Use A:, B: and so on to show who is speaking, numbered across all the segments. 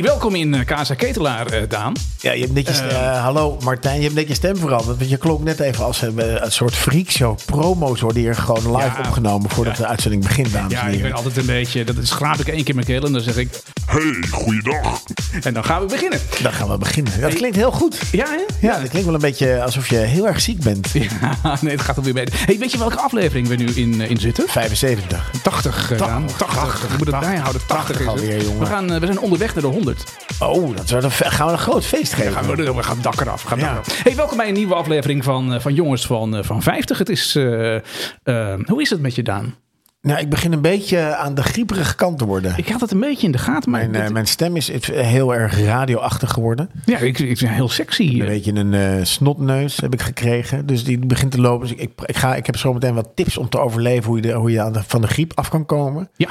A: welkom in eh, Casa Ketelaar, eh, Daan.
B: Ja, je hebt net je stem, eh, hallo Martijn, je hebt net je stem veranderd. Want je klonk net even als een, eh, een soort freakshow. Promo's worden hier gewoon live
A: Ja.
B: opgenomen voordat de uitzending begint, dames
A: Ja,
B: en
A: ik
B: heren.
A: ben altijd een beetje... Dat schraap ik één keer mijn keel en dan zeg ik...
C: Hey, goeiedag.
A: En dan gaan we beginnen.
B: Dan gaan we beginnen. Dat klinkt heel goed.
A: Ja, hè?
B: Ja, dat klinkt wel een beetje alsof je heel erg ziek bent.
A: Ja, nee, het gaat alweer beter. Hey, weet je welke aflevering we nu in, eh, in zitten?
B: 75.
A: 80, eh, Daan. 80. Ik moet het bijhouden. 80 is het.
B: alweer, jongen.
A: We, gaan, eh, we zijn onderweg naar de 100.
B: Oh, dat wordt een, fe- gaan we een groot feest geven.
A: Gaan we, we gaan het dak eraf. Gaan het
B: Ja.
A: dak eraf. Hey, welkom bij een nieuwe aflevering van, eh, van Jongens van, eh, van 50. Het is... eh, eh, hoe is het met je, Daan?
B: Nou, ik begin een beetje aan de grieperige kant te worden.
A: Ik had het een beetje in de gaten, maar...
B: Mijn, eh,
A: dit-
B: mijn stem is eh, heel erg radioachtig geworden.
A: ja, ik, ik ben heel sexy.
B: Een beetje een eh, snotneus heb ik gekregen. Dus die begint te lopen. Dus ik, ik, ga, ik heb zo meteen wat tips om te overleven. Hoe je, de- hoe je aan de, van de griep af kan komen.
A: Ja.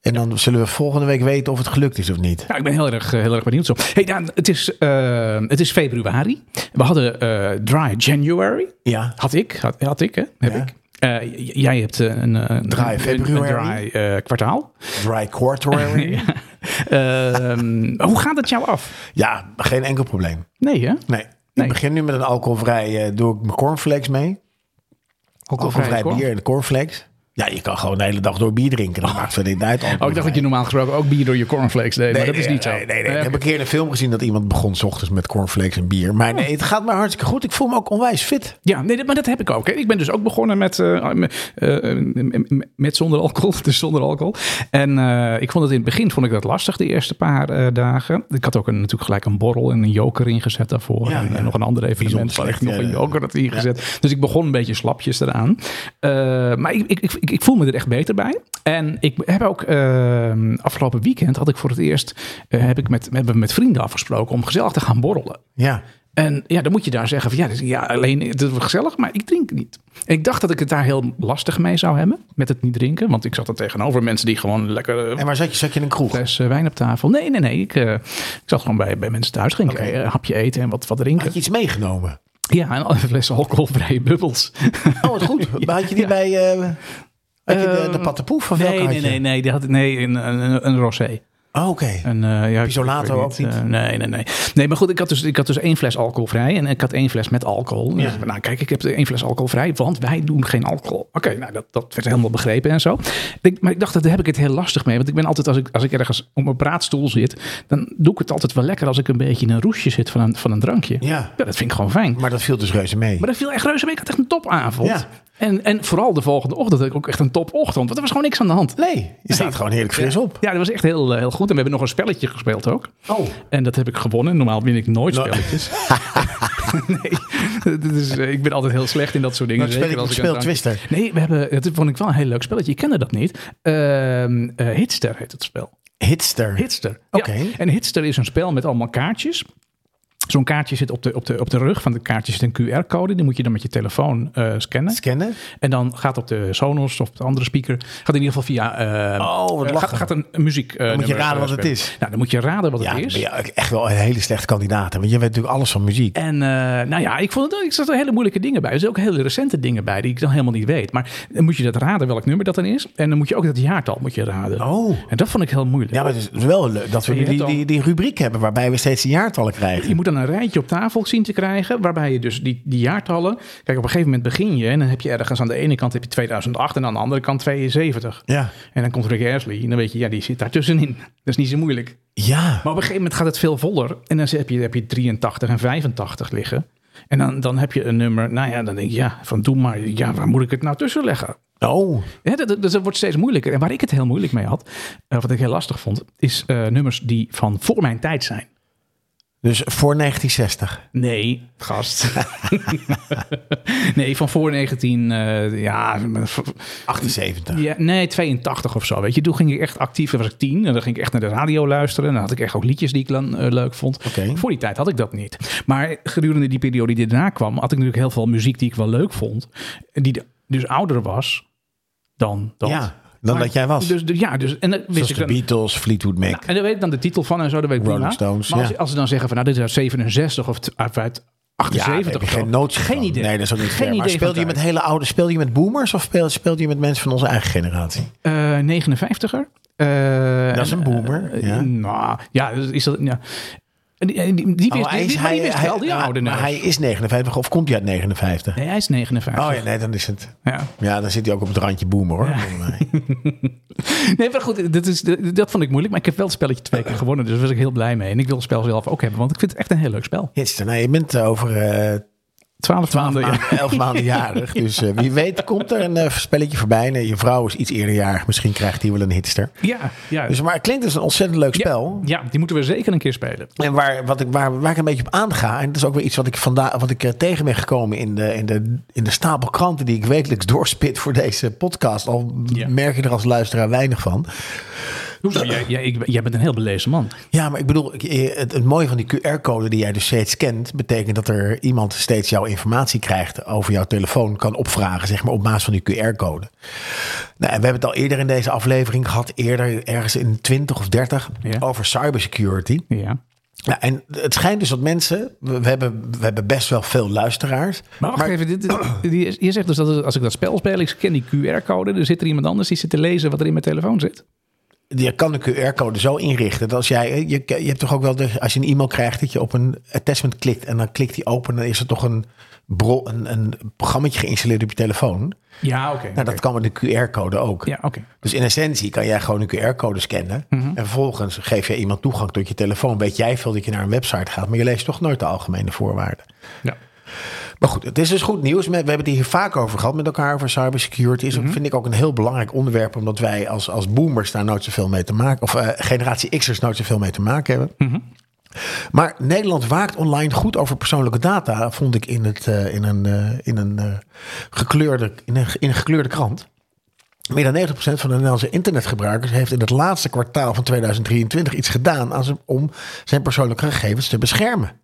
B: En dan zullen we volgende week weten of het gelukt is of niet.
A: Ja, ik ben heel erg, eh, heel erg benieuwd. Zo. Hey Daan, het is, eh, het is februari. We hadden eh, Dry January.
B: Ja.
A: Had ik, had, had ik, hè? Heb
B: Ja.
A: ik. Eh, j- jij hebt eh, een, eh, een
B: Dry
A: een-
B: February.
A: een dry eh, kwartaal.
B: Dry quarter.
A: Ehm, hoe gaat het jou af?
B: ja, geen enkel probleem.
A: Nee, hè?
B: Nee.
A: Nee.
B: Ik begin nu met een alcoholvrij. eh, doe ik mijn cornflakes mee. Alcoholvrij
A: corn?
B: bier en de cornflakes. Ja, je kan gewoon de hele dag door bier drinken. Dat maakt verder niet uit.
A: Oh, ik dacht dat je normaal gesproken ook bier door je cornflakes deed, maar dat is niet zo.
B: Nee, nee,
A: Eh,
B: nee. Ik
A: oké. Oh.
B: heb een keer in een film gezien dat iemand begon 's ochtends met cornflakes en bier. Maar nee, het gaat maar hartstikke goed. Ik voel me ook onwijs fit.
A: Ja, nee, dat- maar dat heb ik ook. Hè. Ik ben dus ook begonnen met, eh, m- eh, m- m- met zonder alcohol. Dus zonder alcohol. En eh, ik vond het in het begin vond ik dat lastig, de eerste paar eh, dagen. Ik had ook een, natuurlijk gelijk een borrel en een joker ingezet daarvoor.
B: Ja,
A: en,
B: ja.
A: en nog een ander evenement
B: Bijzonder
A: waar ik nog
B: slecht,
A: een
B: ja.
A: joker had ingezet. Dus ik begon een beetje slapjes eraan. Eh, maar ik, ik, ik, ik voel me er echt beter bij. En ik heb ook eh, afgelopen weekend had ik voor het eerst eh, heb ik met, hebben we met vrienden afgesproken om gezellig te gaan borrelen.
B: Ja.
A: En ja, dan moet je daar zeggen van ja, dus, ja alleen het is wel gezellig, maar ik drink niet. En ik dacht dat ik het daar heel lastig mee zou hebben met het niet drinken, want ik zat er tegenover mensen die gewoon lekker eh,
B: En waar zat je? Zat je in een kroeg?
A: fles eh, wijn op tafel. Nee, nee, nee, ik, eh, ik zat gewoon bij, bij mensen thuis, ging ik,
B: Oké.
A: eh, een hapje eten en wat, wat drinken.
B: Had je iets meegenomen?
A: Ja, en een fles alcoholvrije bubbels.
B: Oh, wat goed. Maar had je die bij... eh, had je de, de
A: Eh,
B: pattenpoef? Of
A: Nee,
B: welke had
A: nee,
B: je?
A: nee, nee, die had, nee een, een, een rosé.
B: Oh, Oké.
A: Een, eh, ja, ik-
B: Pisolato
A: ik weet
B: ook niet?
A: eh, nee, nee, nee. Nee, maar goed, ik had, dus, ik had dus één fles alcoholvrij en ik had één fles met alcohol. Dus,
B: Ja.
A: nou, kijk, ik heb één fles alcoholvrij, want wij doen geen alcohol. Oké, nou, dat, dat werd helemaal begrepen en zo. Ik- maar ik dacht, daar heb ik het heel lastig mee. Want ik ben altijd, als ik, als ik ergens op mijn praatstoel zit, dan doe ik het altijd wel lekker als ik een beetje in een roesje zit van een, van een drankje.
B: Ja.
A: dat vind ik gewoon fijn.
B: Maar dat viel dus reuze mee.
A: Maar dat viel echt reuze mee. Ik had echt een topavond.
B: Ja.
A: En, en vooral de volgende ochtend had ik ook echt een topochtend. Want er was gewoon niks aan de hand.
B: Nee, je staat gewoon heerlijk fris op.
A: Ja, dat was echt heel, eh, heel goed. En we hebben nog een spelletje gespeeld ook.
B: Oh.
A: En dat heb ik gewonnen. Normaal win ik nooit
B: Nou-
A: spelletjes. nee, dat is, eh, ik ben altijd heel slecht in dat soort dingen.
B: Welk
A: zeker
B: spelletje
A: als ik
B: speel
A: aan het drank-
B: Twister?
A: Nee, we hebben, dat vond ik wel een heel leuk spelletje. Ik kende dat niet. Ehm, eh, Hitster heet het spel.
B: Hitster.
A: Hitster.
B: Oké.
A: Ja. En Hitster is een spel met allemaal kaartjes. Zo'n kaartje zit op de, op, de, op de rug van het kaartje zit een QR-code. Die moet je dan met je telefoon eh, scannen.
B: Scannen?
A: En dan gaat op de Sonos of op de andere speaker. Gaat in ieder geval via. eh,
B: Oh, wat
A: eh,
B: lachen.
A: gaat, gaat een muziek. eh,
B: moet je
A: nummer,
B: raden
A: eh,
B: wat het
A: spelen.
B: is.
A: Nou, dan moet je raden wat
B: Ja,
A: het is.
B: ben je echt wel een hele slechte kandidaat. hè, Want je weet natuurlijk alles van muziek.
A: En eh, nou ja, ik vond het, ik zat er hele moeilijke dingen bij. Er zitten ook hele recente dingen bij die ik dan helemaal niet weet. Maar dan moet je dat raden welk nummer dat dan is. En dan moet je ook dat jaartal moet je raden.
B: Oh.
A: En dat vond ik heel moeilijk.
B: Ja, maar het is wel leuk dat we
A: Je
B: nu die,
A: hebt al-
B: die, die rubriek hebben waarbij we steeds de jaartallen krijgen.
A: Je moet dan een rijtje op tafel zien te krijgen, waarbij je dus die, die jaartallen... Kijk, op een gegeven moment begin je en dan heb je ergens aan de ene kant heb je 2008 en aan de andere kant 72.
B: Ja.
A: En dan komt Rick Astley en dan weet je, ja, die zit daar tussenin. Dat is niet zo moeilijk.
B: Ja.
A: Maar op een gegeven moment gaat het veel voller. En dan heb je, heb je 83 en 85 liggen. En dan, dan heb je een nummer. Nou ja, dan denk je, ja, van doe maar. Ja, waar moet ik het nou tussen leggen?
B: Oh.
A: Hè, dat, dat, dat wordt steeds moeilijker. En waar ik het heel moeilijk mee had, eh, wat ik heel lastig vond, is eh, nummers die van voor mijn tijd zijn.
B: Dus voor 1960.
A: Nee, gast. nee, van voor 19, eh, ja, v-
B: 78.
A: Ja, nee, 82 of zo. Weet je, toen ging ik echt actief. Dan was ik tien en dan ging ik echt naar de radio luisteren. En dan had ik echt ook liedjes die ik dan eh, leuk vond.
B: Oké.
A: Voor die tijd had ik dat niet. Maar gedurende die periode die daarna kwam, had ik natuurlijk heel veel muziek die ik wel leuk vond. En Die de- dus ouder was dan dat.
B: Ja, dan
A: Maar-
B: dat jij was.
A: Dus, dus- ja, dus, en dan wist
B: Zoals
A: ik Nou,
B: de
A: dan,
B: Beatles, Fleetwood Mac.
A: en dan weet ik dan de titel van en zo. Dat weet ik
B: Rolling
A: prima.
B: Stones,
A: Maar als,
B: ja.
A: als ze dan zeggen van nou, dit is uit 67 of t- uit uit
B: Ja,
A: 78
B: daar heb je
A: of zo.
B: geen notie
A: Geen
B: van.
A: idee.
B: Nee, dat is ook niet
A: Geen
B: fair. Maar
A: idee
B: speelde
A: van
B: je met
A: tijd.
B: hele oude, speelde je met boomers of speel- speelde je met mensen van onze eigen generatie?
A: Eh, 59er. Eh,
B: dat is een boomer,
A: eh,
B: ja.
A: Nou, ja, dus is dat... Ja. En die, en die, die,
B: Oh,
A: wist,
B: hij
A: die-
B: is-
A: die- maar die
B: hij-
A: wist
B: hij-
A: wel, die
B: ah,
A: oude neus.
B: Maar hij is 59 of komt hij uit 59?
A: nee, hij is 59.
B: Oh ja, nee, dan is het.
A: ja.
B: Ja, dan zit hij ook op het randje boomer hoor. eh,
A: Nee, maar goed, dat, is, dat vond ik moeilijk. Maar ik heb wel het spelletje twee keer gewonnen, dus daar was ik heel blij mee. En ik wil het spel zelf ook hebben, want ik vind het echt een heel leuk spel.
B: Jitster, nou, je bent over eh
A: 12 maanden, ja.
B: 11 maanden jarig. Dus eh, wie weet komt er een eh, spelletje voorbij. Nee, je vrouw is iets eerder jarig. Misschien krijgt hij wel een hitster.
A: Ja, ja.
B: Dus, maar het klinkt als een ontzettend leuk spel.
A: ja, die moeten we zeker een keer spelen.
B: En waar, wat ik, waar, waar ik een beetje op aanga, en dat is ook weer iets wat ik, vandaag, wat ik eh, tegen ben gekomen in de, in, de, in de stapel kranten die ik wekelijks doorspit voor deze podcast. Al
A: Ja.
B: merk je er als luisteraar weinig van.
A: Hoezo? Jij, jij, ik- jij bent een heel belezen man.
B: Ja, maar ik bedoel, ik- eh, het, het mooie van die QR-code die jij dus steeds kent, betekent dat er iemand steeds jouw informatie krijgt over jouw telefoon, kan opvragen, zeg maar, op basis van die QR-code. Nou, en we hebben het al eerder in deze aflevering gehad, eerder ergens in 20 of 30,
A: Ja.
B: over cybersecurity.
A: Ja.
B: Ja, en het schijnt dus dat mensen, we, we hebben, we hebben best wel veel luisteraars.
A: Maar wacht even, dit, die is- je zegt dus dat als ik dat spel speel, ik ken die QR-code, er zit er iemand anders die zit te lezen wat er in mijn telefoon zit.
B: Je kan de QR-code zo inrichten dat als jij, eh, je, je hebt toch ook wel, dat als je een e-mail krijgt, dat je op een attachment klikt en dan klikt die open, dan is er toch een, bro, een, een programmaatje geïnstalleerd op je telefoon.
A: Ja, oké.
B: Nou, dat kan met een QR-code ook.
A: Ja, Mhm. oké.
B: Dus in essentie kan jij gewoon een QR-code scannen en vervolgens geef jij iemand toegang tot je telefoon. Weet jij veel dat je naar een website gaat, maar je leest toch nooit de algemene voorwaarden.
A: Ja.
B: Maar goed, het is dus goed nieuws. We hebben het hier vaak over gehad met elkaar over cybersecurity. Is ook, vind ik ook een heel belangrijk onderwerp, omdat wij als, als boomers daar nooit zoveel mee te maken, of eh, generatie X'ers nooit zoveel mee te maken hebben. Maar Nederland waakt online goed over persoonlijke data, vond ik in, het, eh, in een, eh, in een, eh, gekleurde, in een, in een gekleurde krant. Meer dan 90% van de Nederlandse internetgebruikers heeft in het laatste kwartaal van 2023 iets gedaan aan zijn- om zijn persoonlijke gegevens te beschermen.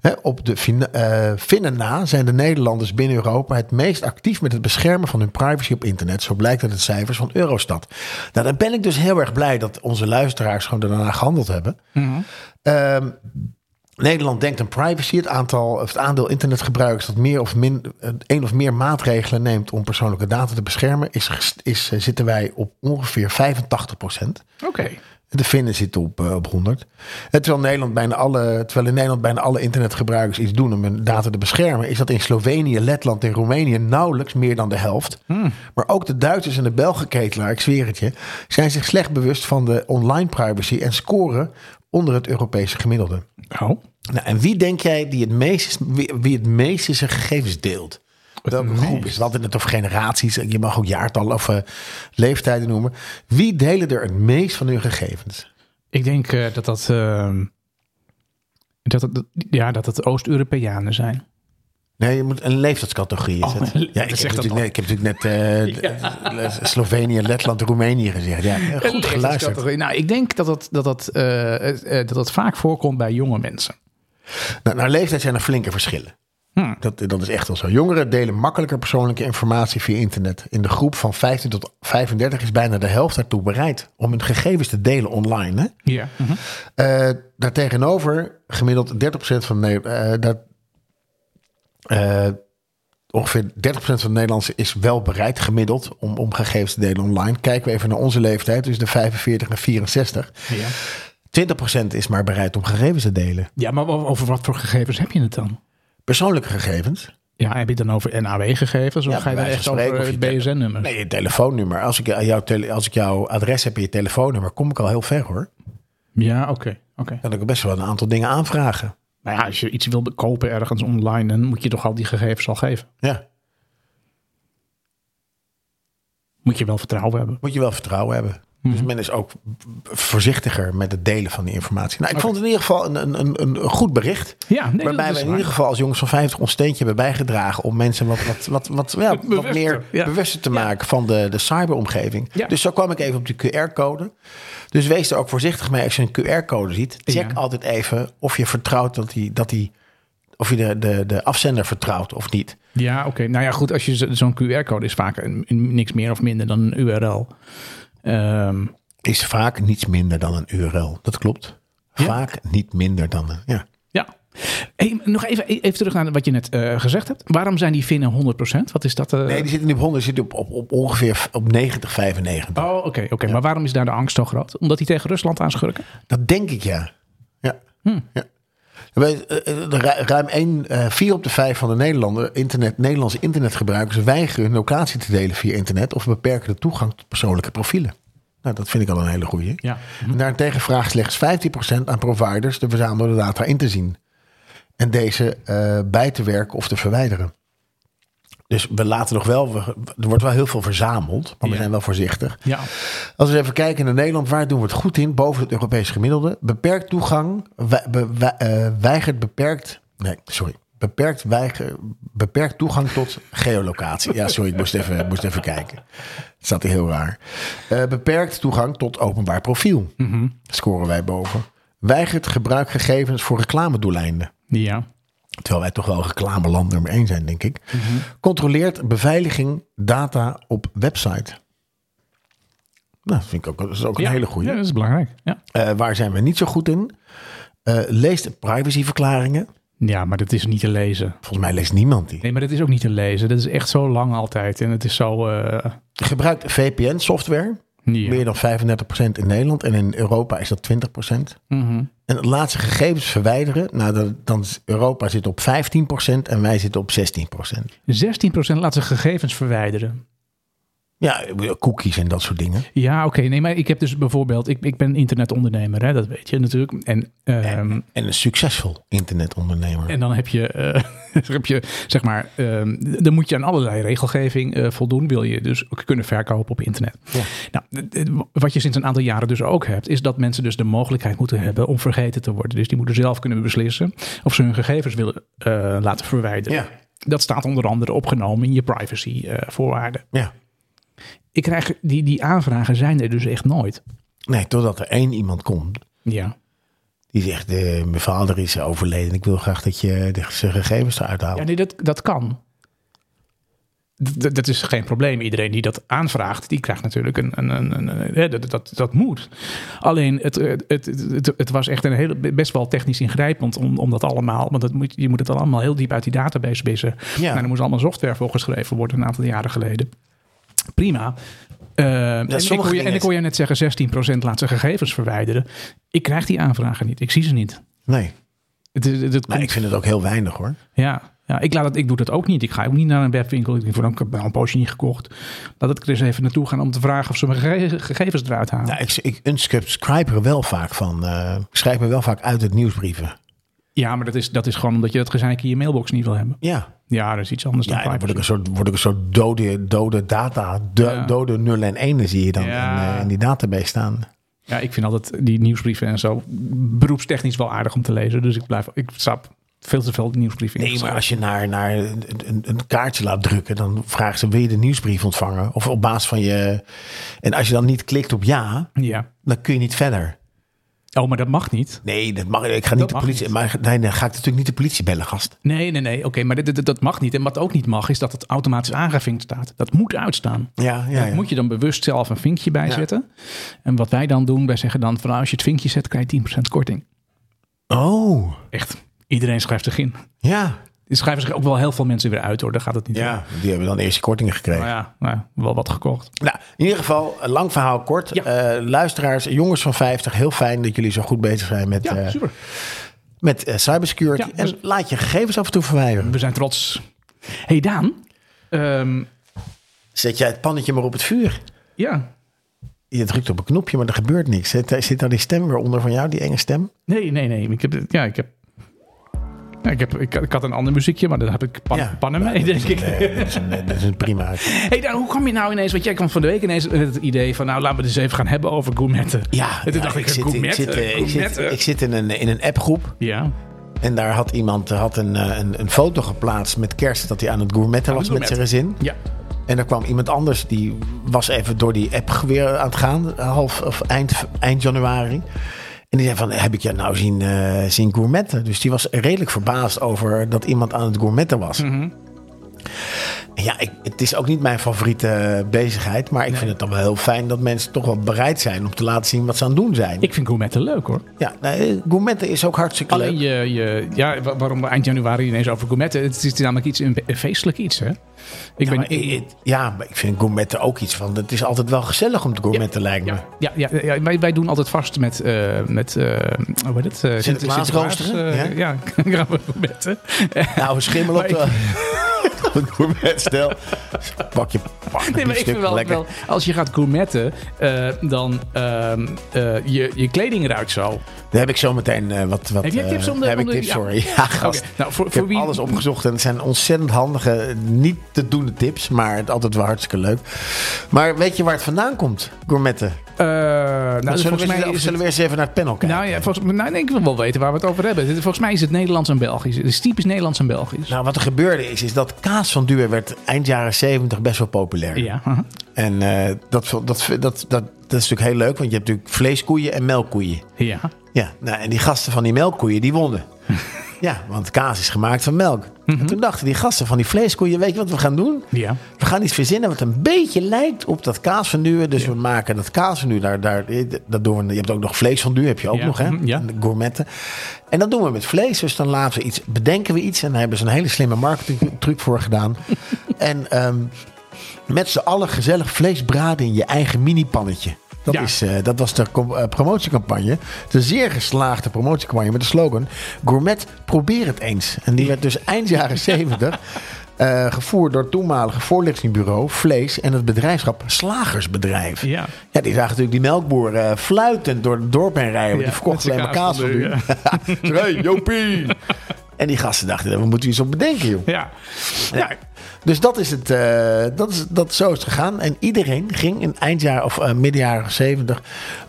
B: Hè, op de fin- eh, Finnen na zijn de Nederlanders binnen Europa het meest actief met het beschermen van hun privacy op internet. Zo blijkt uit de cijfers van Eurostat. Nou, dan ben ik dus heel erg blij dat onze luisteraars gewoon daarna gehandeld hebben. Ehm, Nederland denkt aan privacy. Het, aantal, of het aandeel internetgebruikers dat meer of min, eh, één of meer maatregelen neemt om persoonlijke data te beschermen, is, gest- is, eh, zitten wij op ongeveer 85
A: Oké.
B: de Finnen zitten op, eh, op 100. En terwijl, Nederland bijna alle, terwijl in Nederland bijna alle internetgebruikers iets doen om hun data te beschermen, is dat in Slovenië, Letland en Roemenië nauwelijks meer dan de helft. Maar ook de Duitsers en de Belgen ketelaar, ik zweer het je, zijn zich slecht bewust van de online privacy en scoren onder het Europese gemiddelde.
A: Oh.
B: Nou, en wie denk jij die het meest, is- wie, wie het meest is zijn gegevens deelt? Welke groep is dat? In het of generaties, je mag ook jaartallen of eh, leeftijden noemen. Wie delen er het meest van hun gegevens?
A: Ik denk eh, dat dat, ehm, dat, het- dat, ja, dat het Oost-Europeanen zijn.
B: Nee, je moet een leeftijdscategorie is
A: Oh,
B: het.
A: een
B: Ja, ik heb,
A: leeftijdscategorie.
B: natuurlijk net, ik heb natuurlijk net eh, Slovenië, Letland, Roemenië gezegd. Ja, goed geluisterd.
A: Nou, ik denk dat dat, dat, dat, eh, eh, dat dat vaak voorkomt bij jonge mensen.
B: Nou, naar leeftijd zijn er flinke verschillen.
A: Hmm.
B: Dat, dat is echt wel zo. Jongeren delen makkelijker persoonlijke informatie via internet. In de groep van 15 tot 35 is bijna de helft daartoe bereid om hun gegevens te delen online. Hè?
A: Ja.
B: Eh, daartegenover gemiddeld 30% van de, eh, dat, eh, ongeveer 30% van de Nederlanders is wel bereid gemiddeld om, om gegevens te delen online. Kijken we even naar onze leeftijd, dus de 45 en 64.
A: ja.
B: 20% is maar bereid om gegevens te delen.
A: ja, maar o- over wat voor gegevens heb je het dan?
B: Persoonlijke gegevens.
A: Ja, heb je het dan over NAW-gegevens? Of
B: Ja,
A: ga je
B: bij
A: dan
B: wijze
A: echt
B: van spreken
A: over
B: of
A: eh,
B: je tele-
A: BSN-nummers?
B: Nee, je telefoonnummer. Als ik, jou tele, als ik jouw adres heb en je telefoonnummer, kom ik al heel ver hoor.
A: Ja, oké. oké.
B: Dan kan ik best wel een aantal dingen aanvragen.
A: Nou ja, als je iets wil kopen ergens online, dan moet je toch al die gegevens al geven.
B: Ja,
A: Moet je wel vertrouwen hebben.
B: moet je wel vertrouwen hebben. Dus
A: Mhm.
B: men is ook voorzichtiger met het delen van die informatie. Nou, ik vond het in ieder geval een, een, een, een goed bericht.
A: Ja, nee,
B: waarbij we in ieder geval als jongens van 50 ons steentje hebben bijgedragen om mensen wat, wat, wat, wat, ja, wat
A: bewuster,
B: meer
A: ja.
B: bewuster te maken van de, de cyberomgeving.
A: Ja.
B: Dus zo kwam ik even op de QR-code. Dus wees er ook voorzichtig mee als je een QR-code ziet. Check
A: Ja.
B: altijd even of je vertrouwt dat die, dat die of je de, de, de afzender vertrouwt of niet.
A: Ja, oké. Nou ja, goed, als je zo- zo'n QR-code is vaak een- een- niks meer of minder dan een URL. Ehm,
B: Is vaak niets minder dan een URL. Dat klopt.
A: Ja.
B: Vaak niet minder dan een. Ja.
A: ja. Hey, nog even, e- even terug naar wat je net eh, gezegd hebt. Waarom zijn die vinnen 100%? Wat is dat? eh?
B: Nee, die zitten niet op 100, die zitten op, op, op ongeveer op 90, 95.
A: Oh, oké. oké. Maar waarom is daar de angst zo groot? Omdat die tegen Rusland aanschurken?
B: Dat denk ik, ja. Ja.
A: Hmm.
B: ja. En wij, eh, eh, ru- Ruim 1, 4 op de 5 van de Nederlander, internet, Nederlandse internetgebruikers weigeren hun locatie te delen via internet of beperken de toegang tot persoonlijke profielen. Nou, dat vind ik al een hele goeie.
A: Ja. Mhm.
B: En daarentegen vraagt slechts 15% aan providers de verzamelde data in te zien. En deze eh, bij te werken of te verwijderen. Dus we laten nog wel, we- er wordt wel heel veel verzameld, maar we
A: Ja.
B: zijn wel voorzichtig.
A: Ja.
B: Als we eens even kijken naar Nederland, waar doen we het goed in? Boven het Europees gemiddelde. Beperkt toegang, we- be- we- eh, weigert beperkt. Nee, sorry. Beperkt, weiger, beperkt toegang tot geolocatie. Ja, sorry, ik moest even, ik moest even kijken. Het staat hier heel raar. Eh, beperkt toegang tot openbaar profiel. Scoren wij boven. Weigert gebruik gegevens voor reclamedoeleinden.
A: Ja.
B: Terwijl wij toch wel reclameland nummer 1 zijn, denk ik. Controleert beveiliging data op website. Nou, dat vind ik ook, dat is ook een
A: Ja.
B: hele goede.
A: Ja, dat is belangrijk. Ja.
B: waar zijn we niet zo goed in? Eh, leest privacyverklaringen.
A: ja, maar dat is niet te lezen.
B: Volgens mij leest niemand die.
A: Nee, maar dat is ook niet te lezen. Dat is echt zo lang altijd. En het is zo... eh,
B: Gebruikt VPN-software.
A: ja.
B: Meer dan 35% in Nederland en in Europa is dat 20%.
A: Mhm.
B: En het laatste gegevens verwijderen. Nou, dan, dan is- Europa zit op 15% en wij zitten op 16%.
A: 16% laat zijn gegevens verwijderen.
B: Ja, cookies en dat soort dingen.
A: Ja, oké. Nee, maar ik heb dus bijvoorbeeld, ik, ik ben internetondernemer, hè, dat weet je natuurlijk. En, ehm,
B: En een succesvol internetondernemer.
A: en dan heb je, eh, dan heb je zeg maar, ehm, dan moet je aan allerlei regelgeving eh, voldoen, wil je dus ook kunnen verkopen op internet. Nou, d- d- wat je sinds een aantal jaren dus ook hebt, is dat mensen dus de mogelijkheid moeten hebben om vergeten te worden. Dus die moeten zelf kunnen beslissen of ze hun gegevens willen eh, laten verwijderen.
B: Ja.
A: Dat staat onder andere opgenomen in je privacy eh, voorwaarden.
B: Ja.
A: Ik krijg, die, die aanvragen zijn er dus echt nooit.
B: Nee, totdat er één iemand komt
A: Ja.
B: die zegt: eh, Mijn vader is overleden. Ik wil graag dat je de- zijn gegevens eruit haalt.
A: Ja, nee, dat, dat kan. D- d- Dat is geen probleem. Iedereen die dat aanvraagt, die krijgt natuurlijk een. een, een, een- een- hè, dat, dat, dat moet. Alleen, het, eh, het, het, het, het was echt een hele, best wel technisch ingrijpend om, om dat allemaal. Want dat moet, je moet het dan allemaal heel diep uit die database wissen.
B: Ja.
A: Nou, er moest allemaal software voor geschreven worden een aantal jaren geleden. Prima. Eh, en, ik
B: sommige
A: hoor je,
B: dingen
A: en ik hoor je net zeggen: 16% laat zijn gegevens verwijderen. Ik krijg die aanvragen niet. Ik zie ze niet.
B: Nee,
A: Het, het, het
B: maar
A: komt-
B: ik vind het ook heel weinig hoor.
A: ja, ja ik, laat het, ik doe dat ook niet. Ik ga ook niet naar een webwinkel. Ik denk van, ik heb al een poosje niet gekocht. Laat het er eens even naartoe gaan om te vragen of ze mijn gege- gegevens eruit halen.
B: Nou, ik, ik unsubscribe er wel vaak van. eh, ik schrijf me wel vaak uit het nieuwsbrieven.
A: Ja, maar dat is, dat is gewoon omdat je dat gezeik in je mailbox niet wil hebben.
B: Ja,
A: Ja, dat is iets anders
B: ja
A: dan
B: en dan word ik,
A: privacy.
B: een soort, word ik een soort dode, dode data, de-
A: Ja.
B: dode 0 en 1 zie je dan
A: Ja.
B: in, eh, in die database staan.
A: Ja, ik vind altijd die nieuwsbrieven en zo beroepstechnisch wel aardig om te lezen. Dus ik blijf, ik stap veel te veel nieuwsbrieven in.
B: Nee, maar Dus als je naar, naar een, een- een kaartje laat drukken, dan vragen ze: wil je de nieuwsbrief ontvangen? Of op basis van je. En als je dan niet klikt op ja,
A: Ja.
B: dan kun je niet verder.
A: Oh, maar dat mag niet.
B: Nee, dat mag. Ik ga niet de
A: mag
B: politie. Maar nee, dan ga ik natuurlijk niet de politie bellen, gast.
A: Nee, nee, nee. Oké, maar dit- dit- dat mag niet. En wat ook niet mag, is dat het automatisch aangevinkt staat. Dat moet uitstaan.
B: Ja, Ah, ja.
A: Daar moet je dan bewust zelf een vinkje bij
B: Ja.
A: zetten. En wat wij dan doen, wij zeggen dan van nou, als je het vinkje zet, krijg je 10% korting.
B: Oh,
A: Echt, iedereen schrijft zich in.
B: ja.
A: Er schrijven zich ook wel heel veel mensen weer uit hoor, daar gaat het niet om.
B: Ja, die hebben dan eerst kortingen gekregen.
A: Maar ja, nou ja, wel wat gekocht.
B: Nou, in ieder geval, een lang verhaal kort.
A: Ja.
B: Eh, luisteraars, jongens van 50, heel fijn dat jullie zo goed bezig zijn met,
A: Ja,
B: eh,
A: super.
B: met eh, cybersecurity.
A: Ja,
B: en
A: dus-
B: laat je gegevens af en toe verwijderen.
A: We zijn trots. hey Daan. Ehm,
B: Zet jij het pannetje maar op het vuur.
A: ja.
B: Je drukt op een knopje, maar er gebeurt niks. Zit, eh, zit daar die stem weer onder van jou, die enge stem?
A: Nee, nee, nee. Ik heb, ja, ik heb... ja, ik, heb, ik, ik had een ander muziekje, maar daar heb ik pan,
B: Ja.
A: pannen mee, denk ik.
B: Nee, dat is een, dat is een prima.
A: hey Daan, hoe kwam je nou ineens... Want jij kwam van de week ineens met het idee van... nou, laten we het eens even gaan hebben over gourmetten.
B: Ja,
A: En toen
B: ja,
A: dacht ik,
B: zit, ik,
A: gourmetten,
B: zit, eh, ik, zit,
A: gourmetten.
B: ik zit in een, in een appgroep
A: Ja.
B: en daar had iemand eh, had een, eh, een, een foto geplaatst met kerst dat hij aan het gourmetten was met zijn
A: gourmetten.
B: gezin.
A: Ja.
B: En er kwam iemand anders, die was even door die app weer aan het gaan, eh, half of eind, eind januari. En die zei van, heb ik jou nou zien, eh, zien
A: Mhm.
B: gourmetten? Dus die was redelijk verbaasd over dat iemand aan het gourmetten was. Ja, ik, het is ook niet mijn favoriete eh, bezigheid. Maar ik vind het dan wel heel fijn dat mensen toch wel bereid zijn om te laten zien wat ze aan het doen zijn.
A: Ik vind gourmetten leuk hoor.
B: ja, nee, gourmetten is ook hartstikke
A: Alleen
B: leuk.
A: je, je, ja, wa- waarom we eind januari ineens over gourmetten? Het is namelijk iets, een een feestelijk iets hè? Ik
B: Ja,
A: ben,
B: maar eh, ik, ik- ja, maar ik vind gourmetten ook iets van. Het is altijd wel gezellig om te gourmetten, lijkt me.
A: Ja, ja, ja, ja, wij, wij doen altijd vast met, eh met eh, hoe heet het? eh,
B: Sinterklaas roosteren,
A: eh, ja, gaan we gourmetten.
B: Nou, schimmel op
A: Maar
B: de... op het gourmetstel. Pak je pak
A: Nee, maar ik vind wel,
B: lekker.
A: wel, als je gaat gourmetten, eh, dan ehm, eh, je, je kleding ruikt zo.
B: Daar heb ik zo meteen eh, wat, wat...
A: Heb jij
B: eh,
A: tips om de-
B: daar Heb
A: om
B: ik
A: de-
B: tips
A: ja.
B: voor je. Ja, gast.
A: Oké, nou, voor,
B: Ik
A: voor
B: heb
A: wie,
B: alles opgezocht en het zijn ontzettend handige, niet te doen tips, maar het altijd wel hartstikke leuk. Maar weet je waar het vandaan komt, gourmetten?
A: Eh, nou,
B: Nou, zullen,
A: volgens
B: we,
A: mij
B: eens- of
A: is
B: zullen
A: het-
B: we eerst even naar het panel kijken?
A: nou,
B: Nou,
A: ja, volgens, nou, nee, ik wil wel weten waar we het over hebben. Dit- Volgens mij is het Nederlands en Belgisch. Het is typisch Nederlands en Belgisch.
B: Nou, wat er gebeurde is, is dat kaas van Duur werd eind jaren 70 best wel populair.
A: ja, aha.
B: En eh, dat, dat, dat, dat, dat is natuurlijk heel leuk, want je hebt natuurlijk vleeskoeien en melkkoeien.
A: ja.
B: Ja, nou, en die gasten van die melkkoeien, die wonnen. ja, want kaas is gemaakt van melk.
A: Mhm.
B: En toen dachten die gasten van die vleeskoeien, weet je wat we gaan doen?
A: ja.
B: We gaan iets verzinnen wat een beetje lijkt op dat kaasfondue. Dus we maken dat kaasfondue. Daar, daar, eh, dat doen we, je hebt ook nog vleesfondue, heb je ook
A: Ja,
B: nog, hè?
A: mhm, ja.
B: En de Gourmetten. En dat doen we met vlees. Dus dan laten we iets, bedenken we iets. En daar hebben ze een hele slimme marketingtruc voor gedaan. en ehm, met z'n allen gezellig vlees braden in je eigen mini-pannetje. Dat,
A: Ja.
B: is, eh, dat was de com- eh, promotiecampagne. De zeer geslaagde promotiecampagne met de slogan... Gourmet, probeer het eens. En die werd dus eind jaren 70 eh, gevoerd door het toenmalige voorlichtingsbureau... Vlees en het bedrijfschap Slagersbedrijf.
A: Ja.
B: Ja, die zagen natuurlijk die melkboer eh, fluitend door het dorp heen rijden. want die
A: Ja, met
B: verkocht
A: zijn
B: alleen maar kaas van
A: kaas van
B: u. Hey, Jopie! En die gasten dachten, we moeten iets op bedenken, joh.
A: Ja.
B: Ja. Dus dat is het, eh, dat is, dat, zo is het gegaan. En iedereen ging in eindjaar of eh midden jaren 70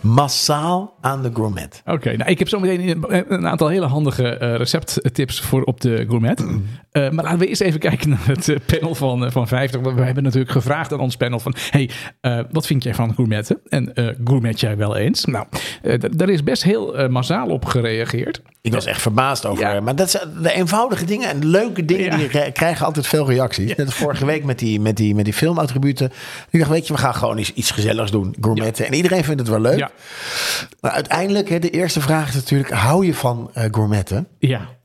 B: massaal aan de gourmet.
A: Oké, nou ik heb zo meteen een- een aantal hele handige eh, recepttips voor op de gourmet. Eh, maar laten we eerst even kijken naar het eh, panel van, eh, van 50. Want we hebben natuurlijk gevraagd aan ons panel van... hey, eh, wat vind jij van gourmetten? En eh gourmet jij wel eens? Nou, eh, d- daar is best heel eh, massaal op gereageerd.
B: Ik was echt verbaasd over. eh,
A: Ja.
B: Maar dat zijn de eenvoudige dingen en de leuke dingen
A: Ja.
B: die re- krijgen altijd veel reacties. Net als vorige week met die, met die, met die filmattributen. Ik dacht, weet je, we gaan gewoon eens iets gezelligs doen. Gourmetten. En iedereen vindt het wel leuk.
A: Ja,
B: Maar uiteindelijk, hè, de eerste vraag is natuurlijk, hou je van eh, gourmetten?
A: ja.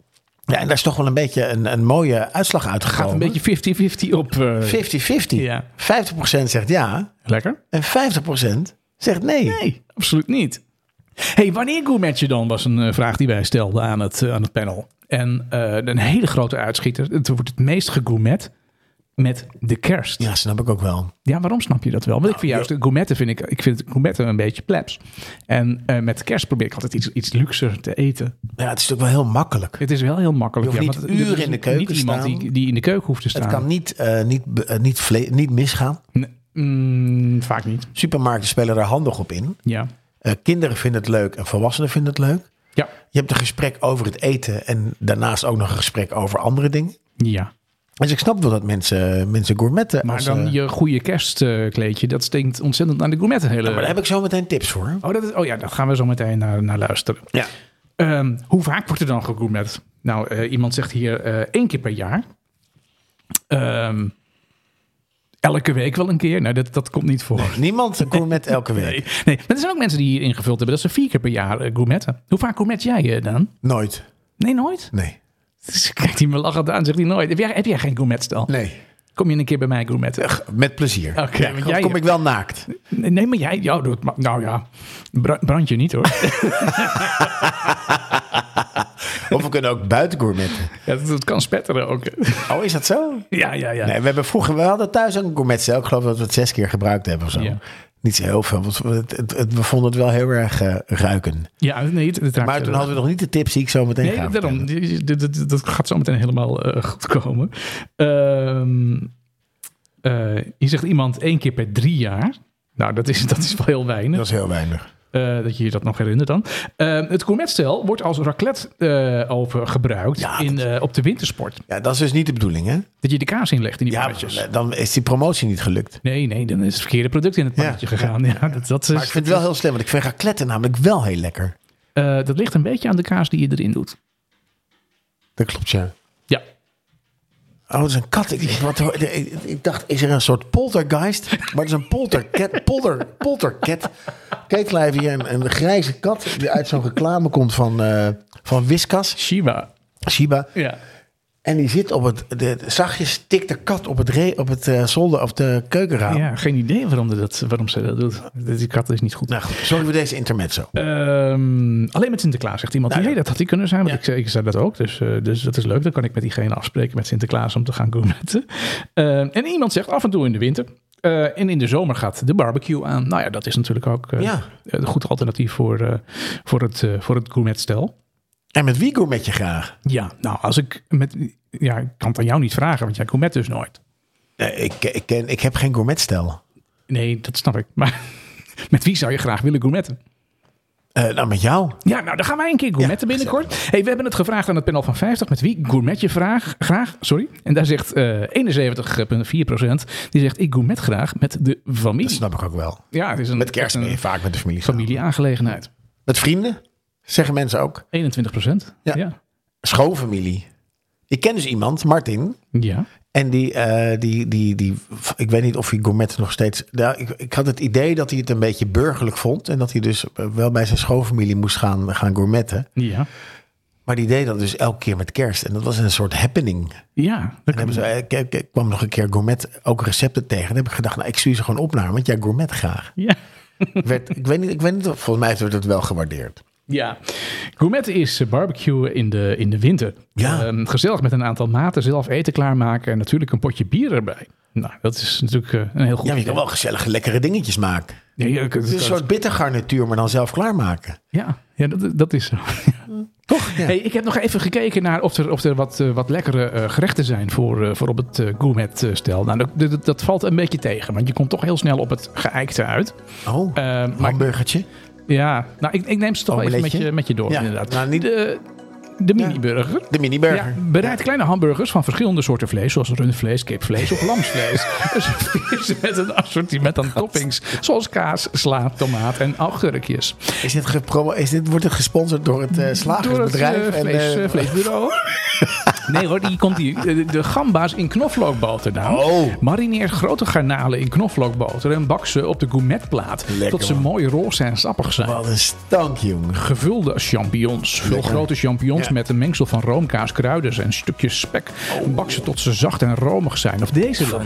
B: Ja, en daar is toch wel een beetje een, een mooie uitslag uitgekomen.
A: Gaat een beetje 50-50 op. eh,
B: 50-50.
A: Ja.
B: 50% zegt ja
A: Lekker?
B: en 50% zegt nee.
A: Nee, absoluut niet. hey, wanneer gourmet je dan? Was een eh, vraag die wij stelden aan het, eh, aan het panel. En eh, een hele grote uitschieter. Het wordt het meest gegourmet met de kerst. Ja,
B: Ja, Nou, snap ik ook wel.
A: waarom snap je dat wel? Want ik vind juist de gourmetten vind ik, ik vind gourmetten een beetje plebs. En eh, met kerst probeer ik altijd iets, iets luxer te eten.
B: Ja, het is natuurlijk wel heel makkelijk.
A: Het is wel heel makkelijk.
B: Je hoeft niet
A: want het- dit
B: uren
A: is
B: in de keuken
A: Niet iemand
B: staan.
A: die, die in de keuken hoeft te staan.
B: Het kan niet, eh, niet, be- eh, niet, vle- niet misgaan.
A: Nee, mm, vaak niet.
B: Supermarkten spelen daar handig op in.
A: Ja.
B: Eh, kinderen vinden het leuk en volwassenen vinden het leuk.
A: Ja.
B: Je hebt een gesprek over het eten en daarnaast ook nog een gesprek over andere dingen.
A: Ja.
B: Dus ik snap wel dat mensen, mensen gourmetten.
A: Maar
B: als,
A: dan
B: eh,
A: je goede kerstkleedje, dat stinkt ontzettend aan de gourmetten. Hele...
B: maar daar heb ik zo meteen tips voor.
A: Oh, dat is, oh ja, daar gaan we zo meteen naar, naar luisteren.
B: Ja.
A: Ehm, hoe vaak wordt er dan gegourmet? Nou, eh, iemand zegt hier eh, één keer per jaar. Ehm, elke week wel een keer. Nou, dat, dat komt niet voor. Nee.
B: Niemand gourmet elke week.
A: Nee. maar er zijn ook mensen die hier ingevuld hebben dat ze vier keer per jaar eh, gourmetten. Hoe vaak gourmet jij eh, dan?
B: Nooit.
A: Nee, nooit.
B: Nee.
A: Dus kijkt hij me lachend aan, zegt hij nooit. Heb jij, heb jij geen gourmetstel?
B: Nee.
A: Kom je een keer bij mij gourmetten?
B: Met plezier.
A: Oké,
B: Ja,
A: want
B: dan
A: jij-
B: kom ik wel naakt.
A: Nee, nee, maar jij, jou doet. maar- Nou ja, bra- brand je niet hoor.
B: Of we kunnen ook buiten gourmetten.
A: ja, dat, dat kan spetteren ook.
B: Oh, is dat zo?
A: ja, ja, ja.
B: Nee, we hebben vroeger, we hadden thuis ook een gourmetcel. Ik geloof dat we het zes keer gebruikt hebben of zo.
A: Ja.
B: Niet zo heel veel, want we- het, het- het- we vonden het wel heel erg eh, ruiken.
A: Ja, nee, het, het raakt
B: Maar
A: je
B: toen
A: wel.
B: hadden we nog niet de tips die ik zo meteen ga
A: Nee, daarom.
B: vertellen.
A: Die- die- Dat, dat, dat gaat zo meteen helemaal eh, goed komen. Ehm, eh, hier zegt iemand één keer per drie jaar. Nou, dat is, dat is wel heel weinig.
B: Dat is heel weinig.
A: eh, dat je je dat nog herinnert dan. Ehm, het gourmetstel wordt als raclette eh, over gebruikt
B: Ja,
A: in, eh, op de wintersport.
B: Ja, dat is dus niet de bedoeling, hè?
A: Dat je de kaas inlegt in die
B: Ja,
A: pannetjes.
B: dan is die promotie niet gelukt.
A: Nee, nee, dan is het verkeerde product in het
B: Ja,
A: pannetje gegaan. Ja, dat, dat,
B: Maar
A: is,
B: ik vind het wel heel slim, want ik vind racletten namelijk wel heel lekker.
A: eh, dat ligt een beetje aan de kaas die je erin doet.
B: Dat klopt, ja.
A: Ja,
B: Oké. Oh, dat is een kat. Ik, wat, ik, ik dacht, is er een soort poltergeist? Maar het is een polterket. Polter, polterket. Keetlijf hier, een, een grijze kat die uit zo'n reclame komt van, eh van Whiskas,
A: Shiba.
B: Shiba.
A: Ja.
B: En die zit op het... De, zachtjes tikt de kat op het, re, op het eh, zolder, op de keukenraam.
A: ja, geen idee waarom, de dat, waarom ze dat doet. Die kat is niet goed.
B: Nou goed, sorry voor deze intermezzo.
A: Ehm, alleen met Sinterklaas, zegt iemand.
B: Nou ja.
A: Nee, dat had hij kunnen zijn, want
B: Ja.
A: ik, zei- ik zei dat ook. Dus, eh, dus dat is leuk. Dan kan ik met diegene afspreken met Sinterklaas om te gaan gourmetten. Ehm, en iemand zegt af en toe in de winter. eh, en in de zomer gaat de barbecue aan. Nou ja, dat is natuurlijk ook eh,
B: Ja.
A: een goed alternatief voor, eh, voor, het, eh voor het gourmetstel.
B: En met wie met je graag?
A: Ja, nou, als ik met. Ja, ik kan het aan jou niet vragen, want jij gourmet dus nooit.
B: Nee, ik, ik, ken, ik heb geen gourmetstel.
A: Nee, dat snap ik. Maar met wie zou je graag willen gourmetten?
B: Eh nou, met jou.
A: Ja, nou, dan gaan wij een keer gourmetten
B: Ja,
A: binnenkort. Hey, we hebben het gevraagd aan het panel van 50. Met wie gourmet je vraag, graag? Sorry. En daar zegt eh 71,4 Die zegt, ik gourmet graag met de familie.
B: Dat snap ik ook wel.
A: ja, het is een,
B: Met kerst ben je
A: een
B: vaak met de familie. samen.
A: familie-aangelegenheid.
B: Met vrienden, zeggen mensen ook.
A: 21
B: Ja.
A: Ja.
B: Schoonfamilie. Ik ken dus iemand, Martin.
A: Ja.
B: En die, eh, die, die, die, ik weet niet of hij gourmet nog steeds. Nou, ik, ik had het idee dat hij het een beetje burgerlijk vond. En dat hij dus wel bij zijn schoonfamilie moest gaan, gaan gourmetten.
A: Ja.
B: Maar die deed dat dus elke keer met kerst. En dat was een soort happening.
A: Ja. dat
B: En hebben ze, ik, ik- ik kwam nog een keer gourmet ook recepten tegen. Dan heb ik gedacht, nou, ik stuur ze gewoon op naar, hem, want jij gourmet graag.
A: ja.
B: Werd, ik, weet niet, ik weet niet, of- volgens mij werd het wel gewaardeerd.
A: Ja, gourmetten is eh, barbecuen in de, in de winter.
B: Ja.
A: Ehm, gezellig met een aantal maten, zelf eten klaarmaken en natuurlijk een potje bier erbij. Nou, dat is natuurlijk eh, een heel goed
B: Ja, maar Dus je kan
A: idee.
B: wel gezellige, lekkere dingetjes maken.
A: Ja, ja, ik-
B: Het is een soort bittergarnituur, maar dan zelf klaarmaken.
A: Ja, ja dat, dat is zo. Toch?
B: ja.
A: Hey, ik heb nog even gekeken naar of er, of er wat, eh, wat lekkere eh, gerechten zijn voor, eh, voor op het eh, gourmet-stel. Nou, dat, dat, dat valt een beetje tegen, want je komt toch heel snel op het geëikte uit.
B: Oh,
A: Eh, maar
B: hamburgertje.
A: ja, nou, ik, ik neem ze toch wel even met
B: Omeletje?
A: je, met je door,
B: Ja,
A: inderdaad.
B: nou, niet-
A: De, de mini-burger.
B: De mini-burger.
A: Ja, bereid kleine hamburgers van verschillende soorten vlees, zoals rundvlees, kipvlees of lamsvlees. Dus het is met een assortiment aan toppings, zoals kaas, sla, tomaat en augurkjes.
B: Is dit gepromo- is dit, wordt het gesponsord door het eh, slagersbedrijf?
A: Door het, eh,
B: en,
A: vlees,
B: eh,
A: eh, vleesbureau. nee hoor, die komt die, de, de gamba's in knoflookboter dan.
B: Oh.
A: Marineer grote garnalen in knoflookboter en bak ze op de gourmetplaat.
B: Lekker,
A: tot ze
B: man.
A: mooi roze en sappig zijn.
B: wat een stank, jongen.
A: Gevulde champignons. Vul
B: Lekker.
A: grote champignons
B: Ja.
A: met een mengsel van roomkaas, kruiden en stukjes spek.
B: Oh.
A: Bak ze tot ze zacht en romig zijn. Of deze dan.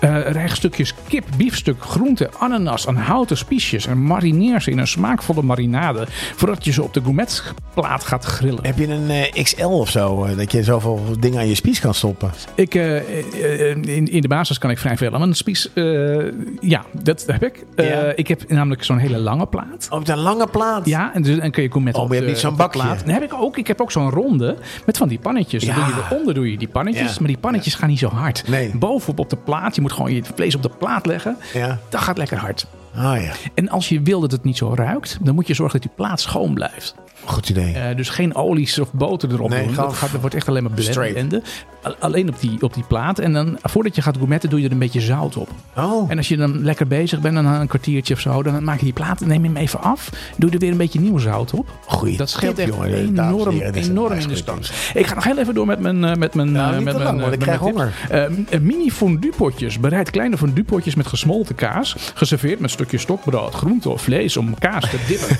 A: Eh rijg stukjes kip, biefstuk, groente, ananas en houten spiesjes. En marineer ze in een smaakvolle marinade. Voordat je ze op de gourmetplaat gaat grillen.
B: Heb je een eh, XL of zo? eh, dat je zoveel dingen aan je spies kan stoppen?
A: Ik, eh, eh, eh, in, in de basis kan ik vrij veel aan mijn spies. eh, ja, dat heb ik. Eh,
B: Ja.
A: Ik heb namelijk zo'n hele lange plaat.
B: Op de Oh, lange plaat.
A: Ja, en, dus, en kun je gourmet
B: Oh, maar je hebt niet zo'n bakje.
A: Dan heb ik ook. Ik heb ook zo'n ronde met van die pannetjes. Dan
B: Ja.
A: doe je eronder doe je die pannetjes,
B: Ja.
A: maar die pannetjes gaan niet zo hard.
B: Nee.
A: Bovenop op de plaat, je moet gewoon je vlees op de plaat leggen.
B: Ja.
A: Dat gaat lekker hard.
B: Oh ja,
A: En als je wil dat het niet zo ruikt, dan moet je zorgen dat die plaat schoon blijft.
B: goed idee.
A: Eh, dus geen olies of boter erop
B: Nee,
A: doen.
B: gewoon
A: Dat, gaat, dat wordt echt alleen maar
B: straight.
A: blenden. Al- Alleen op die, op die plaat. En dan, voordat je gaat gourmetten, doe je er een beetje zout op.
B: oh,
A: En als je dan lekker bezig bent, dan na een kwartiertje of zo, dan maak je die plaat, neem je hem even af, doe er weer een beetje nieuw zout op.
B: goeie
A: Dat scheelt
B: tip,
A: echt
B: jongen. Dames en
A: enorm,
B: heren, dit is een
A: enorm in de
B: ijsgoeie
A: stand. Ik ga nog heel even door met mijn... eh, met mijn
B: Nou,
A: eh,
B: niet
A: met
B: te
A: mijn,
B: lang,
A: eh,
B: want ik
A: met
B: krijg
A: mijn tips. Eh, mini fondue potjes. Bereid kleine fondue potjes met gesmolten kaas, geserveerd met stukjes stokbrood, groente of vlees om kaas te dippen.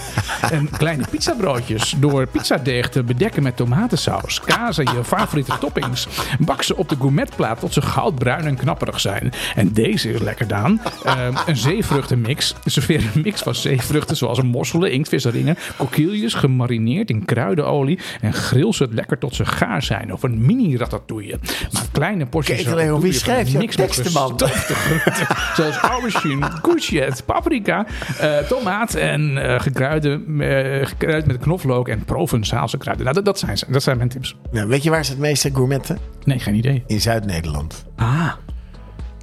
A: en kleine pizzabroodjes door pizzadeeg te bedekken met tomatensaus, kaas en je favoriete toppings. Bak ze op de gourmetplaat tot ze goudbruin en knapperig zijn. En deze is lekker Daan. Eh, een zeevruchtenmix. Serveer een mix van zeevruchten zoals mosselen, inktvis, ringen, kokkieljes, gemarineerd in kruidenolie en gril ze het lekker tot ze gaar zijn. Of een mini ratatouille. Maar kleine porties.
B: Kijk, Leo, wie
A: ratatouille van
B: schrijft jouw
A: niks met
B: teksten, man?
A: gestoofde groenten, zoals aubergine, courgette, paprika, eh, tomaat en eh gekruiden, eh, gekruid met knoflook en provenzaalse kruiden. Nou, dat, dat zijn ze. Dat zijn mijn tips.
B: Nou, weet je waar ze het meeste gourmetten?
A: Nee, geen idee.
B: In Zuid-Nederland.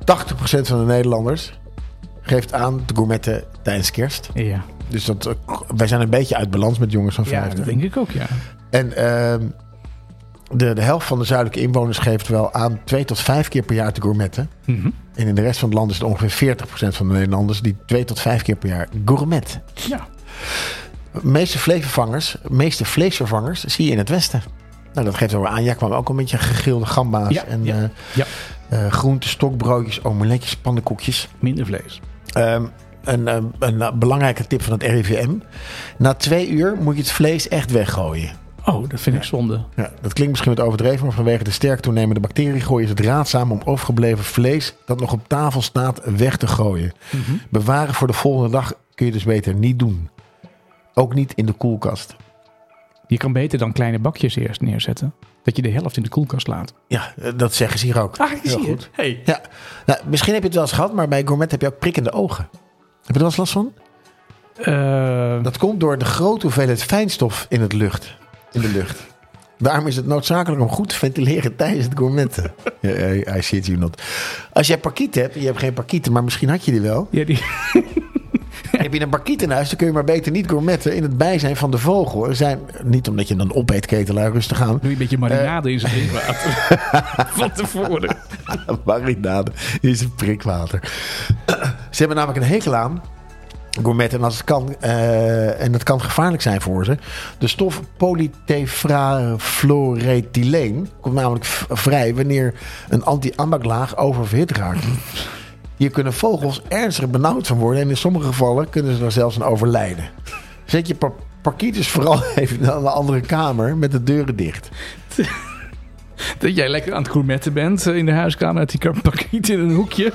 B: 80%
A: Ah,
B: van de Nederlanders geeft aan te gourmetten tijdens kerst.
A: ja.
B: Dus dat, eh, wij zijn een beetje uit balans met jongens van
A: Ja,
B: 50.
A: dat denk ik ook, ja.
B: En ehm, de, de helft van de zuidelijke inwoners geeft wel aan twee tot vijf keer per jaar te gourmetten.
A: Mhm.
B: En in de rest van het land is het ongeveer 40% van de Nederlanders die twee tot vijf keer per jaar gourmet.
A: Ja.
B: De meeste vleesvervangers, meeste vleesvervangers zie je in het westen. Nou, dat geeft wel weer aan. Jij kwam ook al met je gegrilde gamba's
A: Ja,
B: en
A: ja,
B: eh
A: ja.
B: eh, groenten, stokbroodjes, omeletjes, pannenkoekjes.
A: Minder vlees.
B: Ehm, een, eh, een eh, belangrijke tip van het RIVM. Na twee uur moet je het vlees echt weggooien.
A: Oh, dat vind ik zonde.
B: Ja, dat klinkt misschien wat overdreven, maar vanwege de sterk toenemende bacteriegroei is het raadzaam om overgebleven vlees dat nog op tafel staat weg te gooien.
A: Mhm.
B: Bewaren voor de volgende dag kun je dus beter niet doen. Ook niet in de koelkast.
A: Je kan beter dan kleine bakjes eerst neerzetten. Dat je de helft in de koelkast laat.
B: Ja, eh, dat zeggen ze hier ook.
A: Ah, ik
B: Heel
A: zie
B: goed.
A: het. Hey.
B: Ja, nou, misschien heb je het wel eens gehad, maar bij gourmet heb je ook prikkende ogen. Heb je er wel eens last van?
A: Eh,
B: Dat komt door de grote hoeveelheid fijnstof in, het lucht, in de lucht. Daarom is het noodzakelijk om goed te ventileren tijdens het gourmetten. Ja, I, I shit you not. Als jij parkieten hebt, je hebt geen parkieten, maar misschien had je die wel.
A: ja, die,
B: Heb je een parkiet in huis, dan kun je maar beter niet gourmetten in het bijzijn van de vogel. Er zijn, niet omdat je dan opeet, ketelaar, rustig aan.
A: doe je een beetje marinade in zijn drinkwater. Eh. Van tevoren.
B: Marinade is een prikwater. ze hebben namelijk een hekel aan gourmet. En, als het kan, eh, en dat kan gevaarlijk zijn voor ze. De stof polytefrafluorethyleen komt namelijk v- vrij wanneer een anti-ambaklaag oververhit raakt. Hier kunnen vogels ernstig benauwd van worden en in sommige gevallen kunnen ze er zelfs aan overlijden. Zet je par- parkietjes vooral even naar een andere kamer met de deuren dicht.
A: Dat jij lekker aan het gourmetten bent eh, in de huiskamer. Dat die kar- pakiet in een hoekje.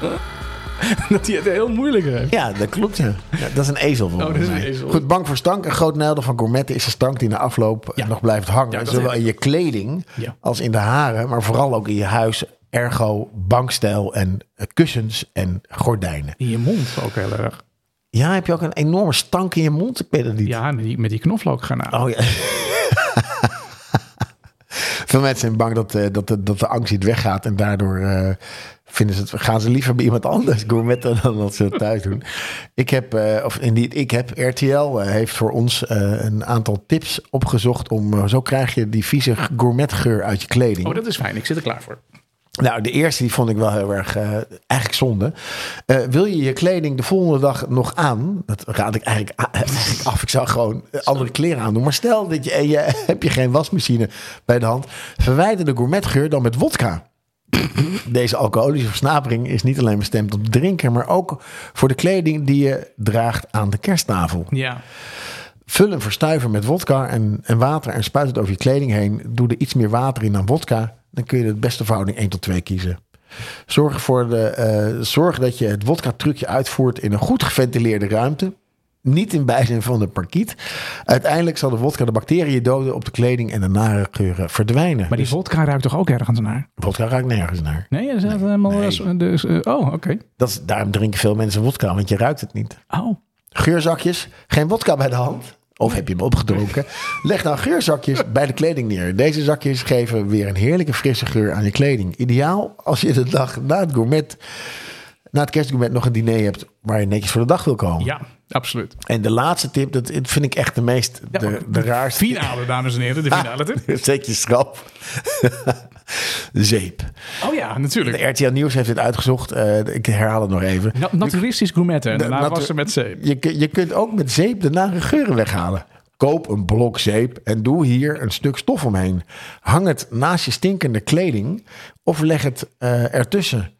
A: Dat hij het heel moeilijk heeft.
B: Ja, dat klopt. Ja. Ja, dat is een ezel volgens
A: Oh, dat is een
B: mij.
A: ezel.
B: Goed, bang voor stank. Een groot nadeel van gourmetten is de stank die na afloop
A: Ja.
B: nog blijft hangen.
A: Ja, dat
B: Zowel
A: heb
B: in je kleding
A: Ja.
B: als in de haren, maar vooral ook in je huis. Ergo, bankstijl en eh, kussens en gordijnen.
A: In je mond ook heel erg.
B: Ja, heb je ook een enorme stank in je mond, Peter? Diet?
A: Ja, met die, met die knoflookgranaat.
B: Oh ja. Veel mensen zijn bang dat, eh, dat, de, dat de angst niet weggaat. En daardoor eh, vinden ze het, gaan ze liever bij iemand anders gourmetten dan dat ze het thuis doen. Ik heb, eh, of indien ik heb, RTL eh, heeft voor ons eh, een aantal tips opgezocht. Om, eh, zo krijg je die vieze gourmetgeur uit je kleding.
A: Oh, dat is fijn. Ik zit er klaar voor.
B: Nou, de eerste die vond ik wel heel erg eh, eigenlijk zonde. Eh, wil je je kleding de volgende dag nog aan? Dat raad ik eigenlijk, a- eigenlijk af. Ik zou gewoon eh, andere kleren aandoen. Maar stel dat je, en je heb je geen wasmachine bij de hand. Verwijder de gourmetgeur dan met wodka. Deze alcoholische versnapering is niet alleen bestemd om te drinken, maar ook voor de kleding die je draagt aan de kersttafel.
A: Ja.
B: Vul een verstuiver met wodka en, en water en spuit het over je kleding heen. Doe er iets meer water in dan wodka. Dan kun je de beste verhouding 1 tot 2 kiezen. Zorg, voor de, eh, zorg dat je het wodka-trucje uitvoert in een goed geventileerde ruimte. Niet in bijzijn van de parkiet. Uiteindelijk zal de wodka de bacteriën doden op de kleding en de nare geuren verdwijnen.
A: Maar die vodka ruikt toch ook ergens naar?
B: Wodka ruikt nergens naar.
A: Nee, dat is echt helemaal...
B: Nee.
A: eh, zo- Dus, eh, oh, oké.
B: Dat is, daarom drinken veel mensen wodka, want je ruikt het niet.
A: Oh.
B: geurzakjes, geen wodka bij de hand. Of heb je hem opgedronken? Leg dan geurzakjes bij de kleding neer. Deze zakjes geven weer een heerlijke frisse geur aan je kleding. Ideaal als je de dag na het gourmet, na het kerstgourmet nog een diner hebt waar je netjes voor de dag wil komen.
A: Ja, absoluut.
B: En de laatste tip, dat vind ik echt de meest,
A: Ja,
B: de,
A: maar-
B: de raarste.
A: Finale, dames en heren. De finale tip.
B: Zet je schrap. Zeep.
A: Oh ja, natuurlijk.
B: De RTL Nieuws heeft dit uitgezocht. Eh, ik herhaal het nog even.
A: Na- Naturalistisch gourmetten. En daarna
B: natu-
A: was er met zeep.
B: Je, kun- je kunt ook met zeep de nare geuren weghalen. Koop een blok zeep en doe hier een stuk stof omheen. Hang het naast je stinkende kleding of leg het eh, ertussen.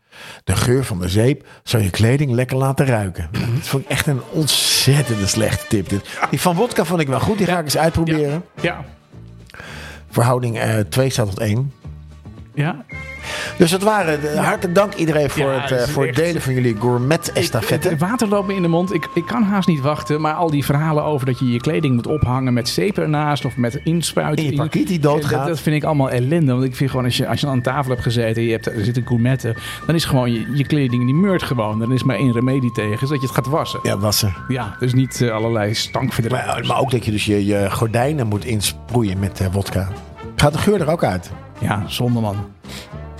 B: De geur van de zeep zal je kleding lekker laten ruiken.
A: Mhm.
B: Dat vond ik echt een ontzettende slechte tip. Dit. Die van wodka vond ik wel goed. Die ga ik eens uitproberen.
A: Ja.
B: Verhouding eh, 2 staat tot 1.
A: Ja.
B: Dus dat waren. de- Hartelijk dank iedereen voor,
A: Ja,
B: het,
A: dat
B: eh,
A: is
B: voor het
A: echt-
B: delen van jullie gourmet-estafette.
A: Het water loopt me in de mond. Ik, ik kan haast niet wachten. Maar al die verhalen over dat je je kleding moet ophangen met zeep ernaast of met inspuiten.
B: In je
A: in- Eh,
B: parkiet die doodgaat.
A: Dat, dat vind ik allemaal ellende. Want ik vind gewoon, als je, als je aan tafel hebt gezeten en je hebt, er zitten gourmetten, dan is gewoon je, je kleding die meurt gewoon. Dan is maar één remedie tegen, is dat je het gaat wassen. Ja,
B: Ja, wassen.
A: dus niet eh, allerlei stankverdrijven.
B: Maar, maar ook dat je dus je, je gordijnen moet insproeien met eh wodka. Gaat de geur er ook uit?
A: Ja, zonde man.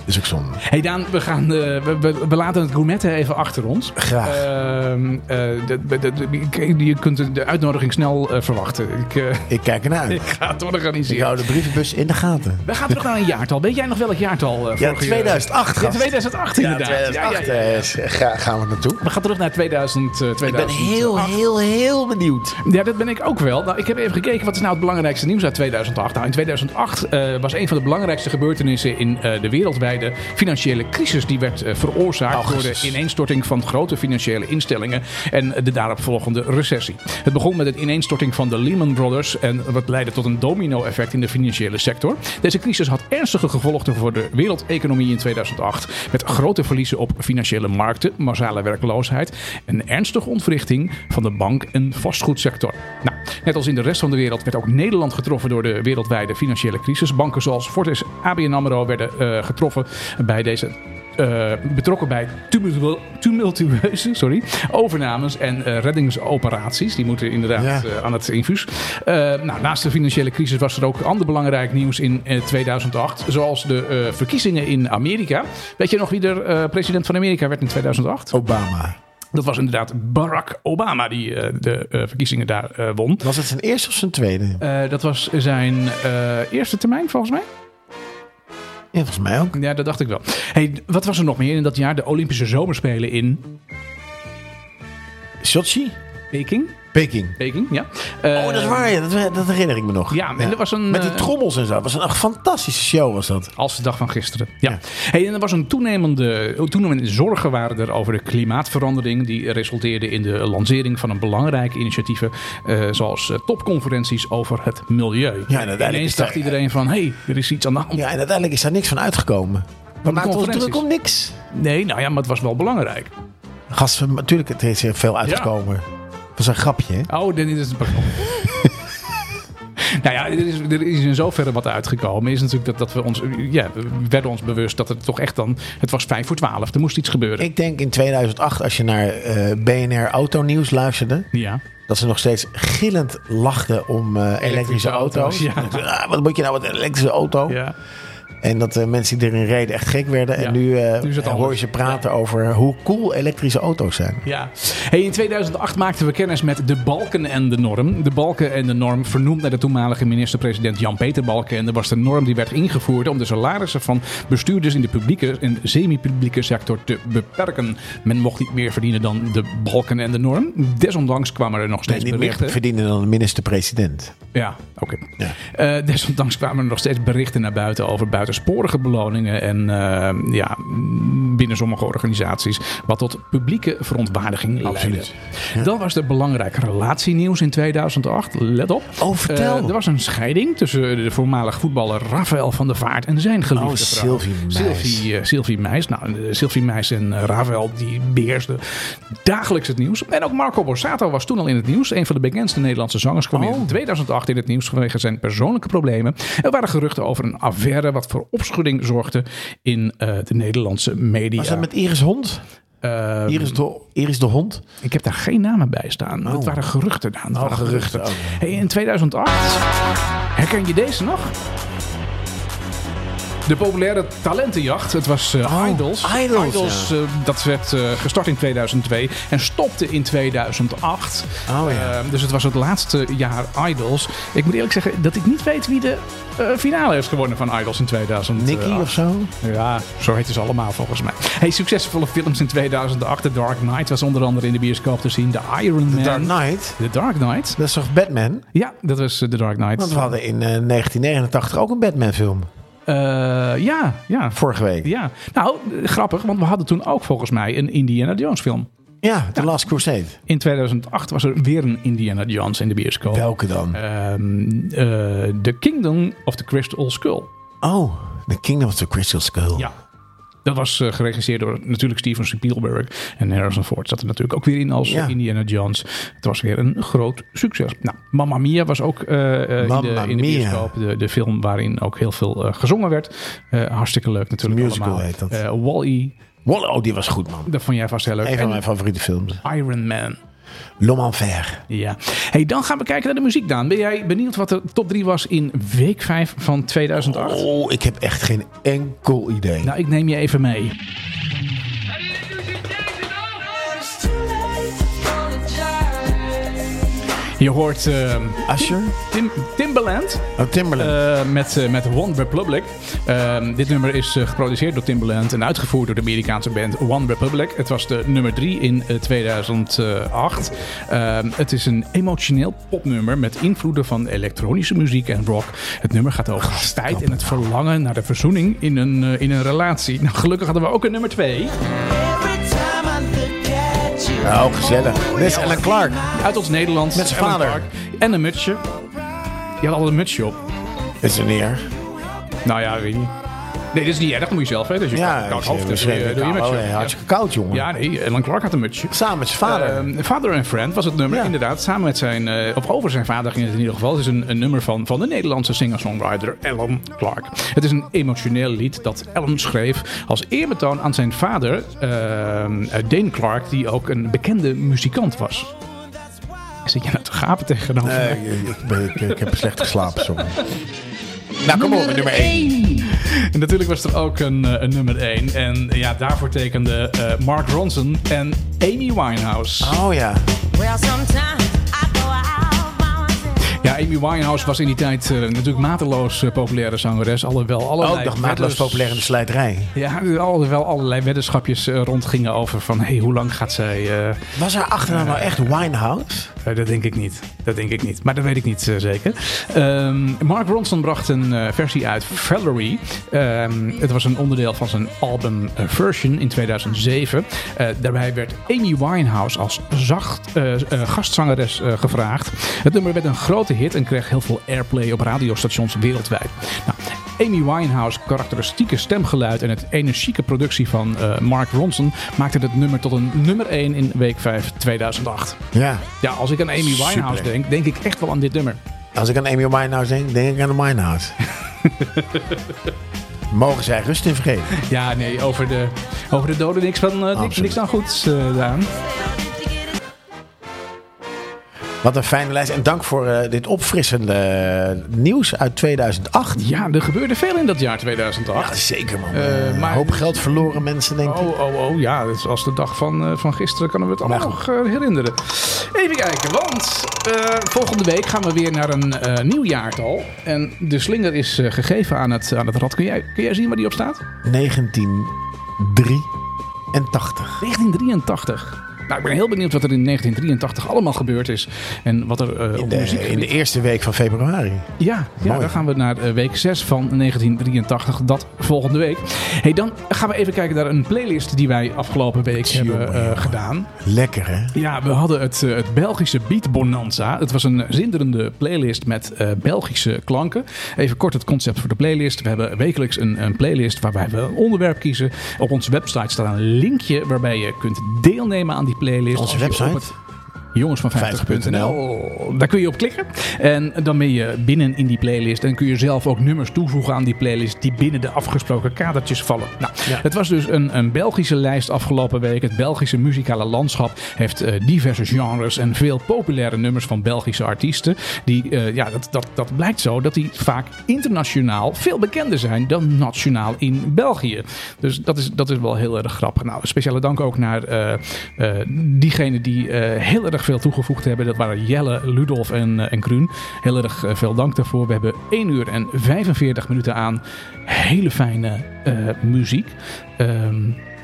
B: Is ook zonde.
A: Hey Daan, we, gaan, eh, we, we, we laten het gourmetten even achter ons.
B: Graag.
A: Ehm, eh, de- de- de- ik- je kunt de uitnodiging snel eh, verwachten. Ik, eh,
B: ik kijk ernaar
A: ik
B: uit.
A: ga het
B: Ik
A: organiseren.
B: hou de brievenbus in de gaten.
A: We gaan terug naar een jaartal. Weet jij nog welk jaartal? eh,
B: Ja,
A: vorig jaar?
B: 2008
A: Ja,
B: gast. eh,
A: 2008 inderdaad. Ja, ja, ja.
B: gaan we naartoe.
A: We gaan terug naar 2000, eh, 2000.
B: Ik ben heel, heel, heel benieuwd.
A: Ja, dat ben ik ook wel. Nou, ik heb even gekeken wat is nou het belangrijkste nieuws uit 2008. Nou, in 2008 eh, was een van de belangrijkste gebeurtenissen in eh, de wereldwijde financiële crisis. Die werd eh, veroorzaakt door de ineenstorting van grote financiële instellingen en de daaropvolgende recessie. Het begon met het ineenstorting van de Lehman Brothers en wat leidde tot een domino-effect in de financiële sector. Deze crisis had ernstige gevolgen voor de wereldeconomie in 2008 met grote verliezen op financiële markten, massale werkloosheid en ernstige ontwrichting van de bank- en vastgoedsector. Nou, net als in de rest van de wereld werd ook Nederland getroffen door de wereldwijde financiële crisis. Banken zoals Fortis, ABN AMRO werden eh, getroffen bij deze... eh, betrokken bij tumultu- tumultueuze sorry, overnames en eh, reddingsoperaties. Die moeten inderdaad
B: Ja.
A: eh, eh, aan het infuus. Eh, nou, naast de financiële crisis was er ook ander belangrijk nieuws in eh, 2008. Zoals de eh, verkiezingen in Amerika. Weet je nog wie er eh, president van Amerika werd in 2008?
B: Obama.
A: Dat was inderdaad Barack Obama die eh, de eh, verkiezingen daar eh, won.
B: Was het zijn eerste of zijn tweede?
A: Eh, dat was zijn eh, eerste termijn volgens mij.
B: Ja, volgens mij ook.
A: Ja, dat dacht ik wel. Hey, wat was er nog meer in dat jaar? De Olympische Zomerspelen in
B: Sochi?
A: Peking.
B: Peking.
A: Peking, ja. Ehm,
B: Oh, dat is waar. Ja. Dat, dat herinner ik me nog.
A: Ja, en er was een,
B: Met die
A: eh,
B: trommels en zo. Dat was een, een fantastische show was dat.
A: Als de dag van gisteren. Ja.
B: Ja.
A: Hey, en er was een toenemende, oh, toenemende zorgen waren er over de klimaatverandering. Die resulteerde in de lancering van een belangrijke initiatieven. eh, zoals eh, topconferenties over het milieu.
B: en uiteindelijk
A: Ineens
B: is daar-
A: dacht iedereen van, hé, hey, er is iets aan de hand.
B: Ja, en uiteindelijk is daar niks van uitgekomen. We maakten ons
A: conferenties.
B: druk om niks.
A: Nee, nou ja, maar het was wel belangrijk.
B: Gast, we- natuurlijk het is er veel uitgekomen. Dat was een grapje, hè?
A: Oh, dit is het Nou ja, er is, er is in zoverre wat uitgekomen. Is natuurlijk dat, dat we ons. Ja, we werden ons bewust dat het toch echt dan. Het was vijf voor twaalf. Er moest iets gebeuren.
B: Ik denk in 2008, als je naar eh, BNR Autonieuws luisterde...
A: Ja.
B: dat ze nog steeds gillend lachten om eh, elektrische, auto's.
A: auto's,
B: Ah, wat moet je nou met een elektrische auto?
A: ja.
B: En dat de mensen die erin reden echt gek werden.
A: Ja.
B: En nu, eh,
A: Nu is het
B: hoor je
A: anders.
B: ze praten over hoe cool elektrische auto's zijn.
A: Ja. Hey, in 2008 maakten we kennis met de Balken en de Norm. De Balken en de Norm, vernoemd naar de toenmalige minister-president Jan-Peter Balken. En dat was de norm die werd ingevoerd om de salarissen van bestuurders in de publieke en semi-publieke sector te beperken. Men mocht niet meer verdienen dan de Balken en de Norm. Desondanks kwamen er nog
B: En
A: steeds
B: niet meer
A: berichten.
B: verdienen dan de minister-president.
A: Ja, oké. Eh, desondanks kwamen er nog steeds berichten naar buiten over buitensporige beloningen en eh, ja, m, binnen sommige organisaties, wat tot publieke verontwaardiging leidde. Dan was er belangrijk relatienieuws in 2008. Let op.
B: Oh, vertel.
A: Eh, er was een scheiding tussen de voormalig voetballer Rafael van der Vaart en zijn geliefde
B: Oh,
A: vrouw.
B: Sylvie Meis.
A: Sylvie, eh, Sylvie Meis. Nou, eh, Sylvie Meis en eh, Rafael die beheersten dagelijks het nieuws. En ook Marco Borsato was toen al in het nieuws. Een van de bekendste Nederlandse zangers kwam
B: Oh.
A: in 2008 in het nieuws vanwege zijn persoonlijke problemen. Er waren geruchten over een affaire wat voor opschudding zorgde in eh, de Nederlandse media.
B: Was dat met Iris Hond?
A: Eh,
B: Iris de, Iris de Hond?
A: ik heb daar geen namen bij staan. Het waren geruchten aan. Het waren
B: Oh. geruchten. Oh.
A: Hey, in 2008 herken je deze nog? De populaire talentenjacht. Het was eh,
B: Oh,
A: Idols.
B: Idols, ja.
A: eh, dat werd eh, gestart in 2002 en stopte in 2008.
B: Oh, ja.
A: Eh, dus het was het laatste jaar Idols. Ik moet eerlijk zeggen dat ik niet weet wie de eh, finale heeft gewonnen van Idols in eh, 2008.
B: Nicky of zo?
A: Ja, zo heet ze allemaal volgens mij. Hey, succesvolle films in 2008. The Dark Knight was onder andere in de bioscoop te zien. The Iron Man.
B: The Dark Knight?
A: The Dark Knight.
B: Dat is toch Batman?
A: Ja, dat was eh, The Dark Knight.
B: Want we hadden in eh, 1989 ook een Batman-film.
A: Eh, ja, ja.
B: Vorige week.
A: Ja, nou, eh, grappig, want we hadden toen ook volgens mij een Indiana Jones film.
B: Ja, The Last Crusade.
A: In 2008 was er weer een Indiana Jones in de bioscoop.
B: Welke dan?
A: Ehm, eh, the Kingdom of the Crystal Skull.
B: Oh, The Kingdom of the Crystal Skull.
A: Ja. Dat was eh, geregisseerd door natuurlijk Steven Spielberg. En Harrison Ford zat er natuurlijk ook weer in als
B: Ja.
A: Indiana Jones. Het was weer een groot succes. Nou, Mamma Mia was ook eh, eh, in, de,
B: Mamma
A: in de
B: Mia.
A: bioscoop. De, de film waarin ook heel veel eh, gezongen werd. Eh, hartstikke leuk natuurlijk
B: Een musical
A: allemaal.
B: heet dat.
A: Eh, Wall-E,
B: Wall- oh, die was goed, man.
A: dat vond jij vast heel leuk.
B: Een van
A: En
B: mijn favoriete films.
A: Iron Man.
B: L'Homme en Fer.
A: Ja. Hey, dan gaan we kijken naar de muziek, Daan. Ben jij benieuwd wat de top 3 was in week 5 van 2008?
B: Oh, ik heb echt geen enkel idee.
A: Nou, ik neem je even mee. Je hoort eh,
B: Asher?
A: Tim, Timbaland
B: Oh, Timberland.
A: eh, met, eh, met One Republic. Eh, dit nummer is eh, geproduceerd door Timbaland en uitgevoerd door de Amerikaanse band One Republic. Het was de nummer 3 in eh, 2008. Eh, het is een emotioneel popnummer met invloeden van elektronische muziek en rock. Het nummer gaat over tijd en het verlangen naar de verzoening in een, eh, in een relatie. Nou, gelukkig hadden we ook een nummer 2.
B: oh, gezellig. Dit is Ellen Clark.
A: Uit ons Nederlands.
B: Met zijn
A: Ellen
B: vader.
A: Clark. En een mutsje. Je had altijd een mutsje op.
B: Dit is een eer.
A: Eh, Nou ja, weet je. Nee, dit is niet erg. Dat moet je zelf weten. Als je
B: Ja,
A: koud- koud
B: ik-
A: hoofd hebt, doe je, eh, doe je
B: oh,
A: mutsje op.
B: nee,
A: Ja.
B: hartstikke koud, jongen.
A: Ja, nee, Ellen Clark had een mutsje.
B: Samen met zijn vader.
A: Ehm, Father and Friend was het nummer,
B: Ja.
A: inderdaad. Samen met zijn, eh, of over zijn vader ging het in ieder geval. Het is een, een nummer van, van de Nederlandse singer-songwriter Ellen Clark. Het is een emotioneel lied dat Ellen schreef als eerbetoon aan zijn vader, ehm Dane Clark, die ook een bekende muzikant was. Zit je nou te gapen tegenover
B: Eh,
A: mij?
B: ik, ik ben- ik- ik heb slecht geslapen, sorry. Nou, kom op, nummer 1.
A: En natuurlijk was er ook een, eh, een nummer 1. En ja, daarvoor tekenden eh, Mark Ronson en Amy Winehouse.
B: Oh ja.
A: Ja, Amy Winehouse was in die tijd eh, natuurlijk mateloos eh, populaire zangeres. Alhoewel allerlei...
B: Ook nog maatloos
A: weddens-
B: populair in de slijterij.
A: Ja, alhoewel allerlei weddenschapjes eh, rondgingen over van... hé, hey, hoe lang gaat zij... eh,
B: Was haar achternaam nou echt Winehouse?
A: Eh, dat denk ik niet. Dat denk ik niet. Maar dat weet ik niet eh, zeker. Ehm, Mark Ronson bracht een eh, versie uit Valerie. Ehm, het was een onderdeel van zijn album eh, Version in 2007. Eh, daarbij werd Amy Winehouse als zacht, eh, eh, gastzangeres eh, gevraagd. Het nummer werd een grote hit en kreeg heel veel airplay op radiostations wereldwijd. Nou, Amy Winehouse karakteristieke stemgeluid en het energieke productie van eh, Mark Ronson maakte het nummer tot een nummer 1 in week 5 2008.
B: Ja.
A: Ja, als ik aan Amy Winehouse
B: Superleuk.
A: denk, denk ik echt wel aan dit nummer.
B: Als ik aan Amy Winehouse denk, denk ik aan de Winehouse. Mogen zij rust in vrede?
A: Ja, nee, over de, over de doden niks, van, eh, niks,
B: Absoluut.
A: niks aan goeds, eh, Daan.
B: Wat een fijne lijst. En dank voor eh, dit opfrissende eh, nieuws uit 2008.
A: Ja, er gebeurde veel in dat jaar
B: Ja,
A: 2008.
B: zeker man.
A: Eh,
B: Een
A: maar-
B: hoop geld verloren mensen, denk ik.
A: Oh, oh, oh, ja, dat is als de dag van, eh, van gisteren kunnen we het allemaal nog
B: goed.
A: eh, herinneren. Even kijken, want eh, volgende week gaan we weer naar een eh, nieuw jaartal. En de slinger is eh, gegeven aan het, aan het rad. Kun jij, kun jij zien waar die op staat?
B: 1983.
A: 1983. Nou, ik ben heel benieuwd wat er in 1983 allemaal gebeurd is. En wat er eh,
B: In
A: op
B: de,
A: muziek
B: in de eerste week van februari.
A: Ja, ja
B: Mooi.
A: dan gaan we naar eh, week 6 van 1983. Dat volgende week. Hey, dan gaan we even kijken naar een playlist die wij afgelopen week
B: Tjonge,
A: hebben eh,
B: jonge.
A: gedaan.
B: Lekker hè?
A: Ja, we hadden het, eh, het Belgische Beat Bonanza. Het was een zinderende playlist met eh, Belgische klanken. Even kort het concept voor de playlist. We hebben wekelijks een, een playlist waarbij we een onderwerp kiezen. Op onze website staat een linkje waarbij je kunt deelnemen aan die playlist.
B: Onze
A: Als je op
B: website?
A: het- Jongens van 50.nl. Oh, Daar kun je op klikken. En dan ben je binnen in die playlist. En kun je zelf ook nummers toevoegen aan die playlist. die binnen de afgesproken kadertjes vallen. Nou,
B: Ja.
A: het was dus een, een Belgische lijst afgelopen week. Het Belgische muzikale landschap heeft eh, diverse genres. en veel populaire nummers van Belgische artiesten. Die, eh, ja, dat, dat, dat blijkt zo dat die vaak internationaal veel bekender zijn dan nationaal in België. Dus dat is, dat is wel heel erg grappig. Nou, speciale dank ook naar eh, eh, diegenen die eh, heel erg veel toegevoegd hebben. Dat waren Jelle, Ludolf en, eh, en Kruun. Heel erg eh, veel dank daarvoor. We hebben 1 uur en 45 minuten aan hele fijne eh, muziek. Ehm,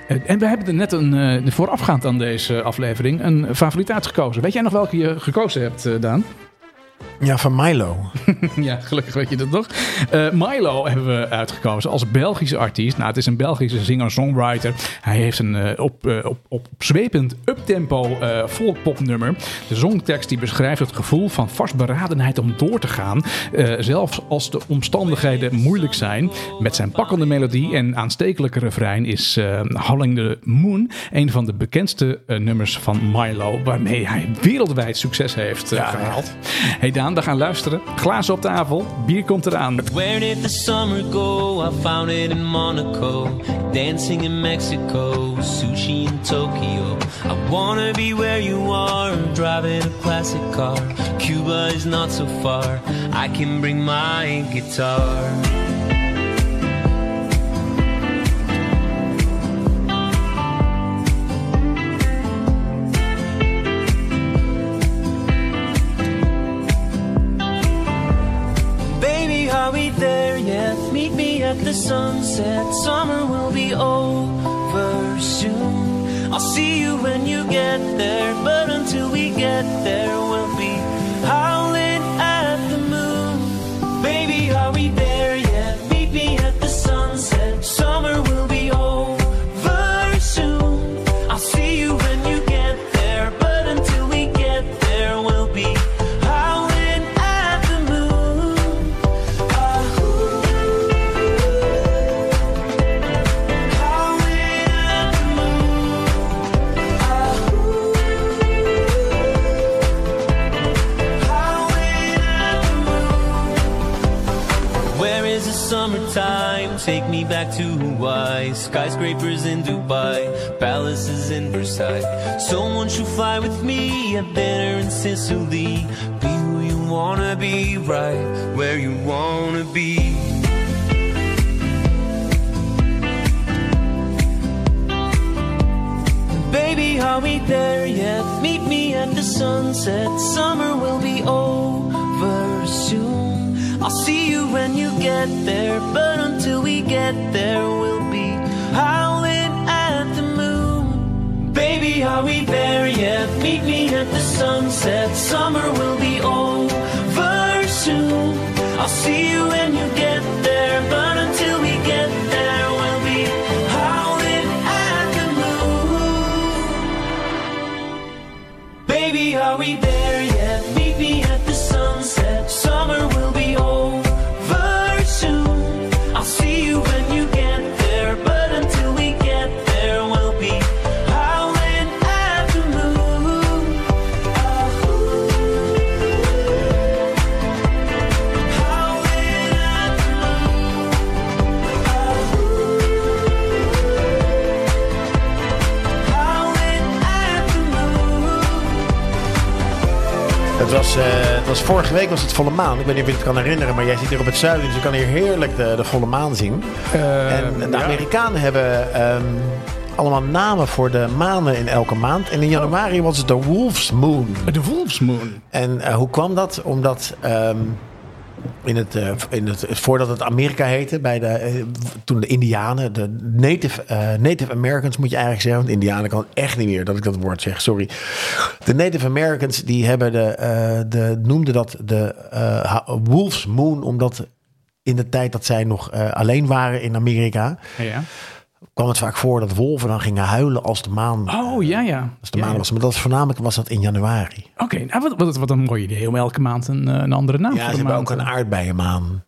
A: en en we hebben er net een, eh, voorafgaand aan deze aflevering een favoriet uitgekozen. Weet jij nog welke je gekozen hebt, eh, Daan?
B: Ja, van Milo.
A: Ja, gelukkig weet je dat nog. Eh, Milo hebben we uitgekozen als Belgische artiest. Nou, het is een Belgische zinger-songwriter. Hij heeft een eh, op, eh, op, op, zwepend uptempo eh volkpopnummer. De zongtekst die beschrijft het gevoel van vastberadenheid om door te gaan. eh, zelfs als de omstandigheden moeilijk zijn. Met zijn pakkende melodie en aanstekelijke refrein is eh Howling the Moon... een van de bekendste eh, nummers van Milo... waarmee hij wereldwijd succes heeft eh,
B: Ja,
A: gehaald. Hey Daan, we gaan luisteren. Glazen op tafel, bier komt eraan.
C: Where did the summer go? I found it in Monaco, dancing in Mexico, sushi in Tokyo. I wanna be where you are, driving a classic car. Cuba is not so far. I can bring my guitar. Baby, are we there yet? Meet me at the sunset. Summer will be over soon. I'll see you when you get there. But until we get there, we'll be howling at the moon. Baby, are we there yet? Meet me at the sunset. Summer will be over soon. I'll see you when you get there. But until we get there, we'll be howling at the moon. Ah. Where is the summertime? Take me back to Hawaii. Skyscrapers in Dubai, palaces in Versailles. Someone should fly with me. A dinner in Sicily. Be who you wanna be, right where you wanna be. Baby, are we there yet? Meet me at the sunset. Summer will be over soon. I'll see you when you get there. But until we get there, we'll be howling at the moon. Baby, are we there yet? Meet me at the sunset. Summer will be over soon. I'll see you when you get there. But until we get there, we'll be howling at the moon. Baby, are we there yet? Meet me at the sunset. Summer will be over soon. I'll see you when you get there. But until we get there, we'll be howling at the moon. Howling at the moon. Howling at the moon.
B: Het was, eh, het was vorige week was het volle maan. Ik weet niet of je het kan herinneren, maar jij zit hier op het zuiden, dus je kan hier heerlijk de, de volle maan zien. en de Amerikanen hebben ehm, allemaal namen voor de manen in elke maand. En in januari was het de Wolf's Moon.
A: De Wolf's Moon.
B: En eh, hoe kwam dat? Omdat ehm, in het, eh, in het, voordat het Amerika heette, bij de, eh, toen de Indianen, de Native, eh, Native Americans moet je eigenlijk zeggen, want Indianen kan echt niet meer dat ik dat woord zeg, sorry. De Native Americans die hebben de, eh, de, noemden dat de eh, ha- Wolf's Moon, omdat in de tijd dat zij nog eh, alleen waren in Amerika,
A: Ja.
B: kwam het vaak voor dat wolven dan gingen huilen als de maan,
A: Oh, ja, ja.
B: als de
A: Ja,
B: maan
A: ja.
B: was. Maar dat is, voornamelijk was dat in januari.
A: Oké, nou, wat, wat, wat een mooi idee om elke maand een, eh, een andere naam
B: Ja,
A: voor de
B: ze hebben
A: maand.
B: ook een aardbeienmaan.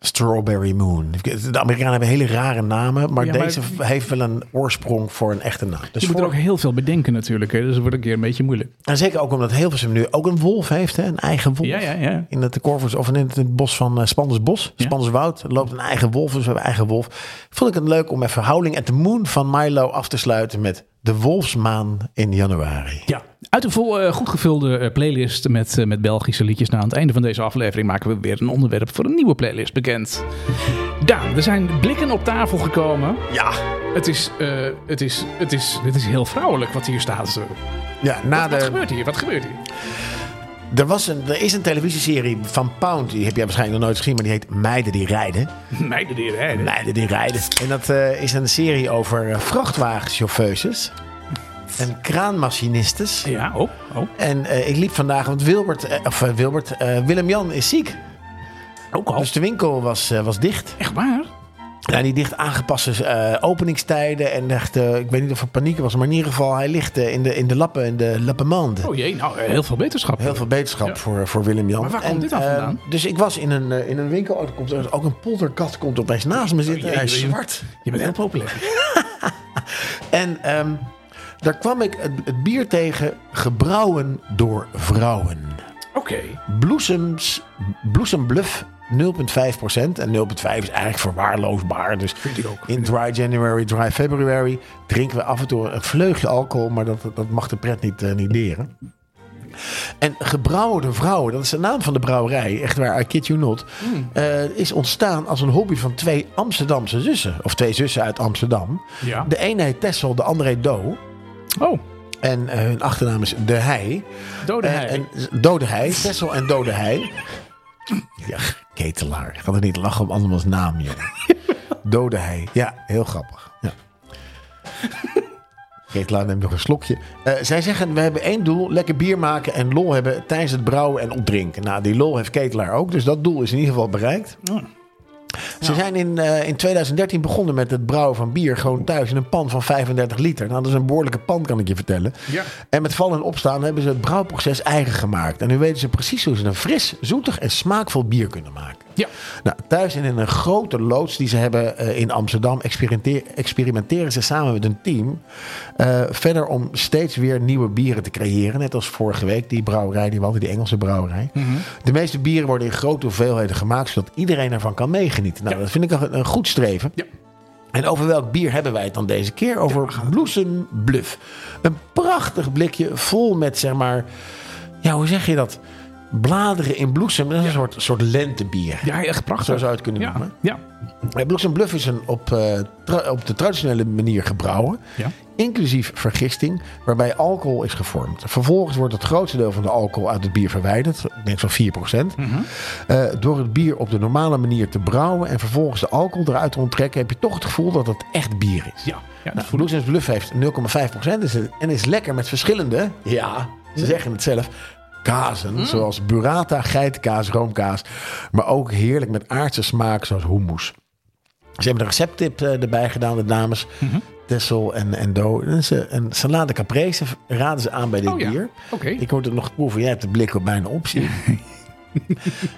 B: Strawberry Moon. De Amerikanen hebben hele rare namen, maar
A: Ja, maar-
B: deze heeft wel een oorsprong voor een echte naam. Dus
A: Je moet er
B: voor-
A: ook heel veel bedenken natuurlijk, hè, dus het wordt een keer een beetje moeilijk.
B: En zeker ook omdat Hilversum nu ook een wolf heeft, hè? een eigen wolf.
A: Ja, ja, ja.
B: In het Corvus of in het, in het bos van eh Spandersbos,
A: Ja.
B: Spanderswoud, loopt een eigen wolf, dus we hebben een eigen wolf. Vond ik het leuk om even Howling at the Moon van Milo af te sluiten met de wolfsmaan in januari.
A: Ja, uit een vol, eh, goed gevulde eh, playlist met, eh, met Belgische liedjes. Nou, aan het einde van deze aflevering maken we weer een onderwerp voor een nieuwe playlist bekend. Daan, er zijn blikken op tafel gekomen.
B: Ja,
A: Het is, eh, het is, het is, het is heel vrouwelijk wat hier staat. Zo.
B: ja na
A: Wat
B: de,
A: gebeurt hier? Wat gebeurt hier?
B: Er, was een, er is een televisieserie van Pound, die heb jij waarschijnlijk nog nooit gezien, maar die heet Meiden die rijden.
A: Meiden die rijden.
B: Meiden die rijden. En dat eh, is een serie over eh, vrachtwagenchauffeurs en kraanmachinistes.
A: Ja, oh, oh.
B: En eh, ik liep vandaag, want Wilbert, eh, of eh, Wilbert, eh, Willem-Jan is ziek.
A: Ook al.
B: Dus de winkel was, eh, was dicht.
A: Echt waar?
B: Ja, die dicht aangepaste eh, openingstijden. En echt, eh, ik weet niet of er paniek was, maar in ieder geval, hij ligt eh, in, de, in de lappen, in de lappenmanden.
A: Oh jee, nou, eh, heel veel wetenschap.
B: Heel veel beterschap voor, voor Willem-Jan.
A: Maar waar komt
B: En,
A: dit dan
B: eh,
A: vandaan?
B: dus ik was in een, eh, in een winkel. Oh, er komt er- ook een polterkat komt opeens naast me zitten.
A: jee,
B: hij is
A: jee.
B: zwart.
A: Je bent heel populair.
B: En ehm, daar kwam ik het, het bier tegen. Gebrouwen door vrouwen.
A: Oké.
B: Bloesems, Bloesembluff 0,5%. En 0,5 is eigenlijk verwaarloosbaar. Dus
A: Vind ik ook.
B: in dry January, dry February drinken we af en toe een vleugje alcohol. Maar dat, dat mag de pret niet, eh, niet leren. En Gebrouwde Vrouwen, dat is de naam van de brouwerij, echt waar, I kid you not,
A: Hmm.
B: eh, is ontstaan als een hobby van twee Amsterdamse zussen. Of twee zussen uit Amsterdam.
A: Ja.
B: De een heet Tessel, de andere heet Do.
A: Oh,
B: En eh, hun achternaam is De Hei.
A: dode
B: Eh,
A: hei.
B: En, dode hei, Tessel en dode hei. Ja, ketelaar. Ik kan er niet lachen om andermans naam, jongen. Dode hei. Ja, heel grappig. Ja. Ketelaar neemt nog een slokje. Eh, zij zeggen, we hebben één doel. Lekker bier maken en lol hebben tijdens het brouwen en opdrinken. Nou, die lol heeft Ketelaar ook. Dus dat doel is in ieder geval bereikt. Ze zijn in, eh, in 2013 begonnen met het brouwen van bier gewoon thuis in een pan van 35 liter. Nou, dat is een behoorlijke pan, kan ik je vertellen.
A: Ja.
B: En met vallen en opstaan hebben ze het brouwproces eigen gemaakt. En nu weten ze precies hoe ze een fris, zoetig en smaakvol bier kunnen maken.
A: Ja.
B: Nou, thuis en in een grote loods die ze hebben eh, in Amsterdam experimenteer- experimenteren ze samen met een team eh, verder om steeds weer nieuwe bieren te creëren. Net als vorige week, die brouwerij die we hadden, die Engelse brouwerij.
A: Mhm.
B: De meeste bieren worden in grote hoeveelheden gemaakt, zodat iedereen ervan kan meegenieten. Nou, dat vind ik een, een goed streven.
A: Ja.
B: En over welk bier hebben wij het dan deze keer? Over Bloesem Bluff. Een prachtig blikje vol met, zeg maar, ja, hoe zeg je dat? Bladeren in bloesem. Dat is een soort, soort lentebier.
A: Ja, echt prachtig.
B: Zo zou je het kunnen
A: ja.
B: noemen.
A: ja.
B: Eh, Bloesem Bluff is een op, eh, tra- op de traditionele manier gebrouwen.
A: Ja.
B: Inclusief vergisting, waarbij alcohol is gevormd. Vervolgens wordt het grootste deel van de alcohol uit het bier verwijderd. Ik denk zo'n 4%.
A: Mhm.
B: Eh, door het bier op de normale manier te brouwen en vervolgens de alcohol eruit te onttrekken, heb je toch het gevoel dat het echt bier is.
A: Ja. Ja, dat
B: Nou,
A: voel ik.
B: Bloesems Bluff heeft 0,5% is het- en is lekker met verschillende, ja,
A: Mhm.
B: ze zeggen het zelf, kazen. Zoals burrata, geitenkaas, roomkaas. Maar ook heerlijk met aardse smaak, zoals hummus. Ze hebben een recepttip eh, erbij gedaan, de dames
A: Mhm.
B: Tessel en, en Do. En ze, een salade caprese raden ze aan bij dit
A: Oh ja.
B: bier.
A: Oké.
B: Ik moet het nog proeven. Jij hebt de blik op mijn optie.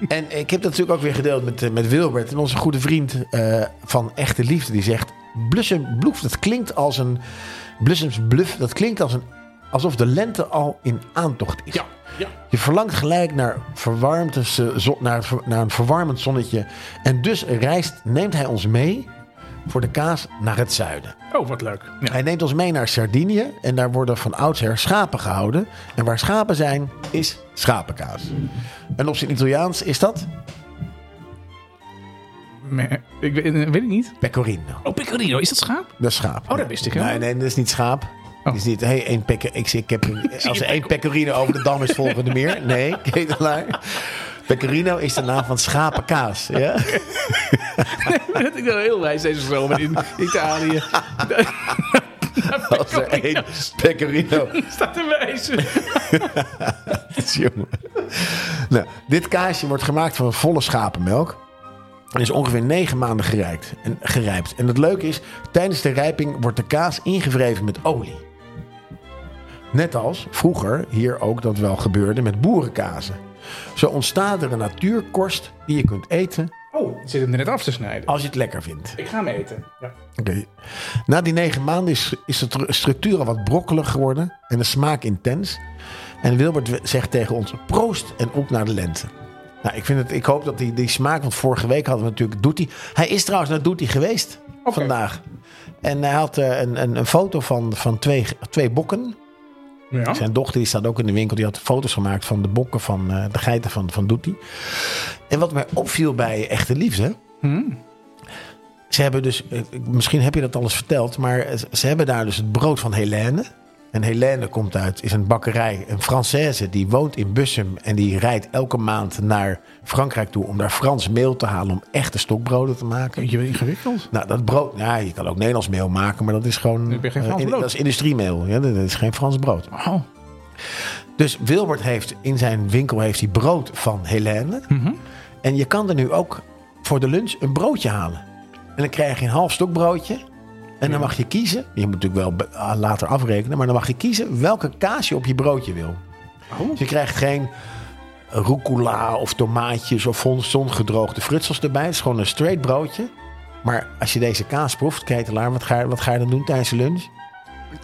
B: en ik heb dat natuurlijk ook weer gedeeld met, eh, met Wilbert. En onze goede vriend eh, van Echte Liefde. Die zegt, Blussem Bluff, dat klinkt als een... Blussems Bluff, dat klinkt als een, alsof de lente al in aantocht is.
A: Ja. Ja.
B: Je verlangt gelijk naar, verwarmd, zo- naar, het ver- naar een verwarmend zonnetje. En dus reist, neemt hij ons mee voor de kaas naar het zuiden.
A: Oh, wat leuk. Ja.
B: Hij neemt ons mee naar Sardinië en daar worden van oudsher schapen gehouden. En waar schapen zijn, is schapenkaas. En op zijn Italiaans is dat
A: Me- Ik weet, eh, weet ik niet.
B: pecorino.
A: Oh, pecorino. Is dat schaap?
B: Dat is schaap.
A: Oh, dat wist ik Oh.
B: Nee,
A: helemaal
B: nee, dat is niet schaap. Dat is niet, hey, één pecker, ik, ik heb, een- als er één pecorino over de dam is, volgen er meer. Nee, ketelaar. Pecorino is de naam van schapenkaas. Ja?
A: Dat ik wel heel wijs deze zomer in Italië.
B: Als er één pecorino
A: Staat te wijzen.
B: is, jongen. Nou, dit kaasje wordt gemaakt van volle schapenmelk. En is ongeveer negen maanden gerijpt en, gerijpt. en het leuke is, tijdens de rijping wordt de kaas ingewreven met olie. Net als vroeger hier ook dat wel gebeurde met boerenkazen. Zo ontstaat er een natuurkorst die je kunt eten
A: Oh, ik zit hem er net af te snijden.
B: als je het lekker vindt.
A: Oh, Ik ga hem eten. Ja.
B: Oké. Na die negen maanden is, is de tru- structuur al wat brokkelig geworden en de smaak intens. En Wilbert we- zegt tegen ons: proost en op naar de lente. Nou, ik, vind het, ik hoop dat die, die smaak, want vorige week hadden we natuurlijk Doetie. Hij is trouwens naar Doetie geweest
A: Oké.
B: vandaag. En hij had eh, een, een, een foto van, van twee, twee bokken.
A: Ja.
B: Zijn dochter die staat ook in de winkel. Die had foto's gemaakt van de bokken van eh, de geiten van, van Doetie. En wat mij opviel bij Echte Liefde.
A: Hmm.
B: Ze hebben dus, eh, ik- misschien heb je dat al eens verteld, maar eh, ze hebben daar dus het brood van Helene. En Helene komt uit, is een bakkerij, een Française die woont in Bussum. En die rijdt elke maand naar Frankrijk toe om daar Frans meel te halen om echte stokbroden te maken.
A: Je bent ingewikkeld.
B: Nou, dat brood, ja, je kan ook Nederlands meel maken, maar dat is gewoon.
A: Ik ben geen
B: eh,
A: Frans
B: in-
A: brood.
B: Dat is industriemeel, ja, dat is geen Frans brood.
A: Oh.
B: Dus Wilbert heeft in zijn winkel heeft hij brood van Helene. En je kan er nu ook voor de lunch een broodje halen. En dan krijg je een half stuk broodje. En dan mag je kiezen. Je moet natuurlijk wel be- ah, later afrekenen. Maar dan mag je kiezen welke kaas je op je broodje wil. Dus je krijgt geen rucola of tomaatjes of zon- zongedroogde frutsels erbij. Het is gewoon een straight broodje. Maar als je deze kaas proeft, ketelaar, wat ga, je- wat ga je dan doen tijdens de lunch?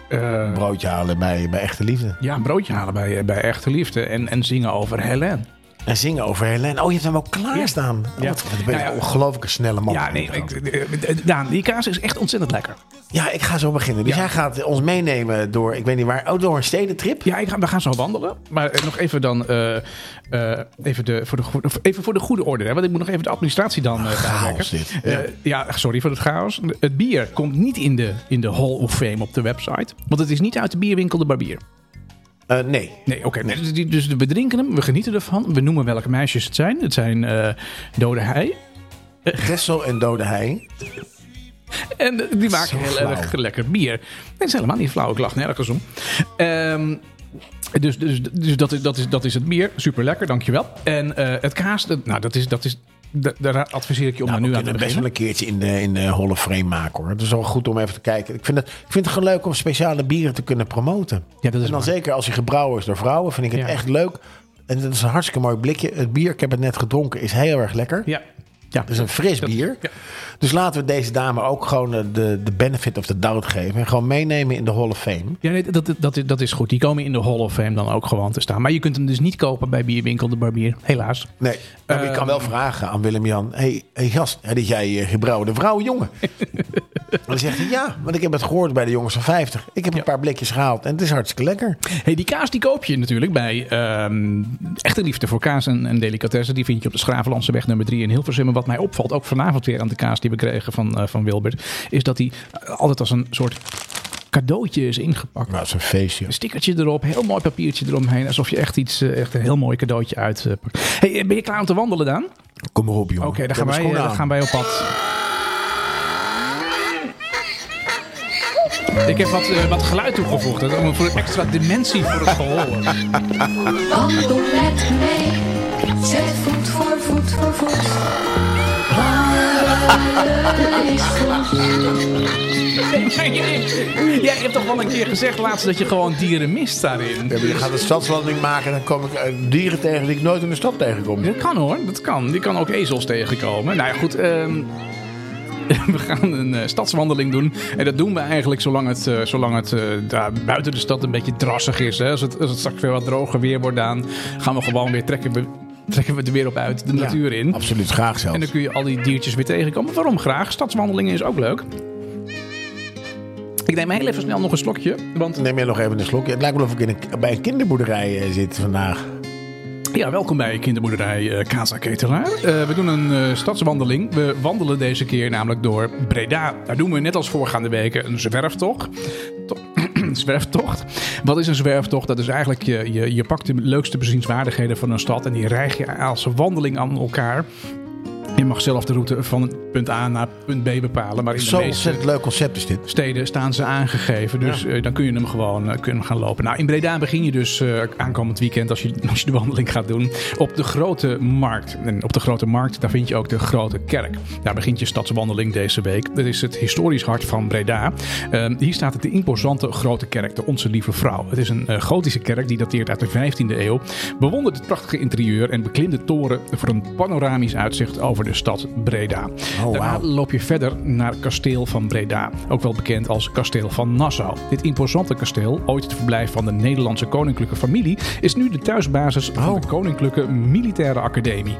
A: Eh,
B: Broodje halen bij, bij echte liefde.
A: ja, een broodje halen bij, eh, bij Echte Liefde. En, en zingen over Helen.
B: En zingen over Helene. Oh, je hebt hem ook klaarstaan.
A: Ja. Nou
B: Wat, wat ben je
A: Ja, ja.
B: een ongelooflijke snelle man.
A: Ja, nee. Ik, eh, eh, Daan, die kaas is echt ontzettend lekker.
B: Ja, ik ga zo beginnen. Dus
A: Ja.
B: jij gaat ons meenemen door, ik weet niet waar, oh, door een stedentrip.
A: Ja, ik ga, we gaan zo wandelen. Maar eh, nog even dan, eh, eh, even, de, voor de, goede- even voor de goede orde. Hè, want ik moet nog even de administratie dan eh bijwerken.
B: dit.
A: Eh, ja, sorry voor het chaos. Het bier komt niet in de, in de Hall of Fame op de website. Want het is niet uit de bierwinkel de barbier.
B: Eh, nee.
A: Nee, oké. Dus, die- dus we drinken hem, we genieten ervan. We noemen welke meisjes het zijn. Het zijn eh, Dode Hei.
B: Gressel en Dode Hei.
A: Nou, En eh, die maken
B: Zo
A: heel
B: flauw.
A: erg lekker bier. Nee, het is helemaal niet flauw. Ik lach nergens om. Ehm, dus dus, dus dat, is, dat, is, dat is het bier. Super lekker, dankjewel. En eh, het kaas, dat- nou, dat is, dat is, da- daar adviseer ik je om
B: Nou,
A: daar nu
B: we
A: aan te
B: kunnen best wel
A: beginnen.
B: een keertje in de, in de Hall of Frame maken hoor. Het is wel goed om even te kijken. Ik vind het, ik vind het gewoon leuk om speciale bieren te kunnen promoten.
A: Ja, dat is
B: en dan
A: waar.
B: zeker als hij gebrouwen is door vrouwen, vind ik het
A: Ja.
B: echt leuk. En dat is een hartstikke mooi blikje. Het bier, ik heb het net gedronken, is heel erg lekker.
A: Ja. Ja.
B: Het is een fris bier.
A: ja.
B: Dus laten we deze dame ook gewoon eh, de, de benefit of the doubt geven. En gewoon meenemen in de Hall of Fame.
A: Ja, nee, dat, dat, is- dat is goed. Die komen in de Hall of Fame dan ook gewoon te staan. Maar je kunt hem dus niet kopen bij Bierwinkel de Barbier. Helaas.
B: Nee, maar Nou, ik kan wel
A: Ehm.
B: vragen aan Willem-Jan. hey, hey gast, hè, dat jij eh, gebrouwde vrouw, jongen? En dan zegt hij, ja, want ik heb het gehoord bij de jongens van 50. Ik heb een paar blikjes gehaald en het is hartstikke lekker.
A: Hey, die kaas die koop je natuurlijk bij ehm, Echte Liefde voor Kaas en, en Delicatessen. Die vind je op de Schravenlandse weg nummer 3 in Hilversum. En wat mij opvalt, ook vanavond weer aan de kaas die we kregen van, eh, van Wilbert... is dat die eh, altijd als een soort cadeautje is ingepakt.
B: Nou, het is een feestje.
A: Een stickertje erop, heel mooi papiertje eromheen. Alsof je echt, iets, eh, echt een heel mooi cadeautje uitpakt. hey, eh, ben je klaar om te wandelen, Daan? Oké,
B: Kom maar op, jongen.
A: dan,
B: Ik heb
A: gaan
B: mijn
A: wij, eh,
B: schoenen
A: dan
B: aan.
A: gaan wij op pad. Ik heb wat, eh, wat geluid toegevoegd. hè, om voor een extra dimensie voor het gehoor.
D: Wandel met mee. Zet voet voor voet voor voet. Wandelen is goed.
A: Maar jij- Jij hebt toch wel een keer gezegd laatst dat je gewoon dieren mist daarin.
B: Ja, maar je gaat een stadslanding maken en dan kom ik eh, dieren tegen die ik nooit in de stad tegenkom.
A: Dat kan hoor, dat kan. Je kan ook ezels tegenkomen. Nou ja, goed. ehm, we gaan een eh, stadswandeling doen. En dat doen we eigenlijk zolang het, eh, zolang het eh, daar buiten de stad een beetje drassig is. Hè. Als, het, als het straks weer wat droger weer wordt aan, gaan we gewoon weer trekken. We, trekken we er weer op uit, de
B: Ja,
A: natuur in.
B: Absoluut, graag zelfs.
A: En dan kun je al die diertjes weer tegenkomen. Waarom graag? Stadswandelingen is ook leuk. Ik neem heel even snel nog een slokje. Want
B: Neem jij nog even een slokje. Het lijkt wel of ik in een, bij een kinderboerderij eh, zit vandaag.
A: Ja, welkom bij kinderboerderij eh Casa Ketelaar. Eh, we doen een eh, stadswandeling. We wandelen deze keer namelijk door Breda. Daar doen we net als voorgaande weken een zwerftocht. To- zwerftocht. Wat is een zwerftocht? Dat is eigenlijk, je, je, je pakt de leukste bezienswaardigheden van een stad... en die rijg je als een wandeling aan elkaar... Je mag zelf de route van punt A naar punt B bepalen. Maar in de
B: Zo
A: meeste
B: ontzettend leuk concept is dit.
A: steden staan ze aangegeven. Dus eh, dan kun je hem gewoon eh, kun je hem gaan lopen. Nou, in Breda begin je dus eh, aankomend weekend, als je, als je de wandeling gaat doen, op de Grote Markt. En op de Grote Markt, daar vind je ook de Grote Kerk. Daar begint je stadswandeling deze week. Dat is het historisch hart van Breda. Eh, hier staat het de imposante Grote Kerk, de Onze Lieve Vrouw. Het is een eh, gotische kerk die dateert uit de 15e eeuw. Bewondert het prachtige interieur en beklimde toren voor een panoramisch uitzicht over de stad Breda. Daarna
B: wauw.
A: loop je verder naar Kasteel van Breda, ook wel bekend als Kasteel van Nassau. Dit imposante kasteel, ooit het verblijf van de Nederlandse koninklijke familie, is nu de thuisbasis van de Koninklijke Militaire Academie.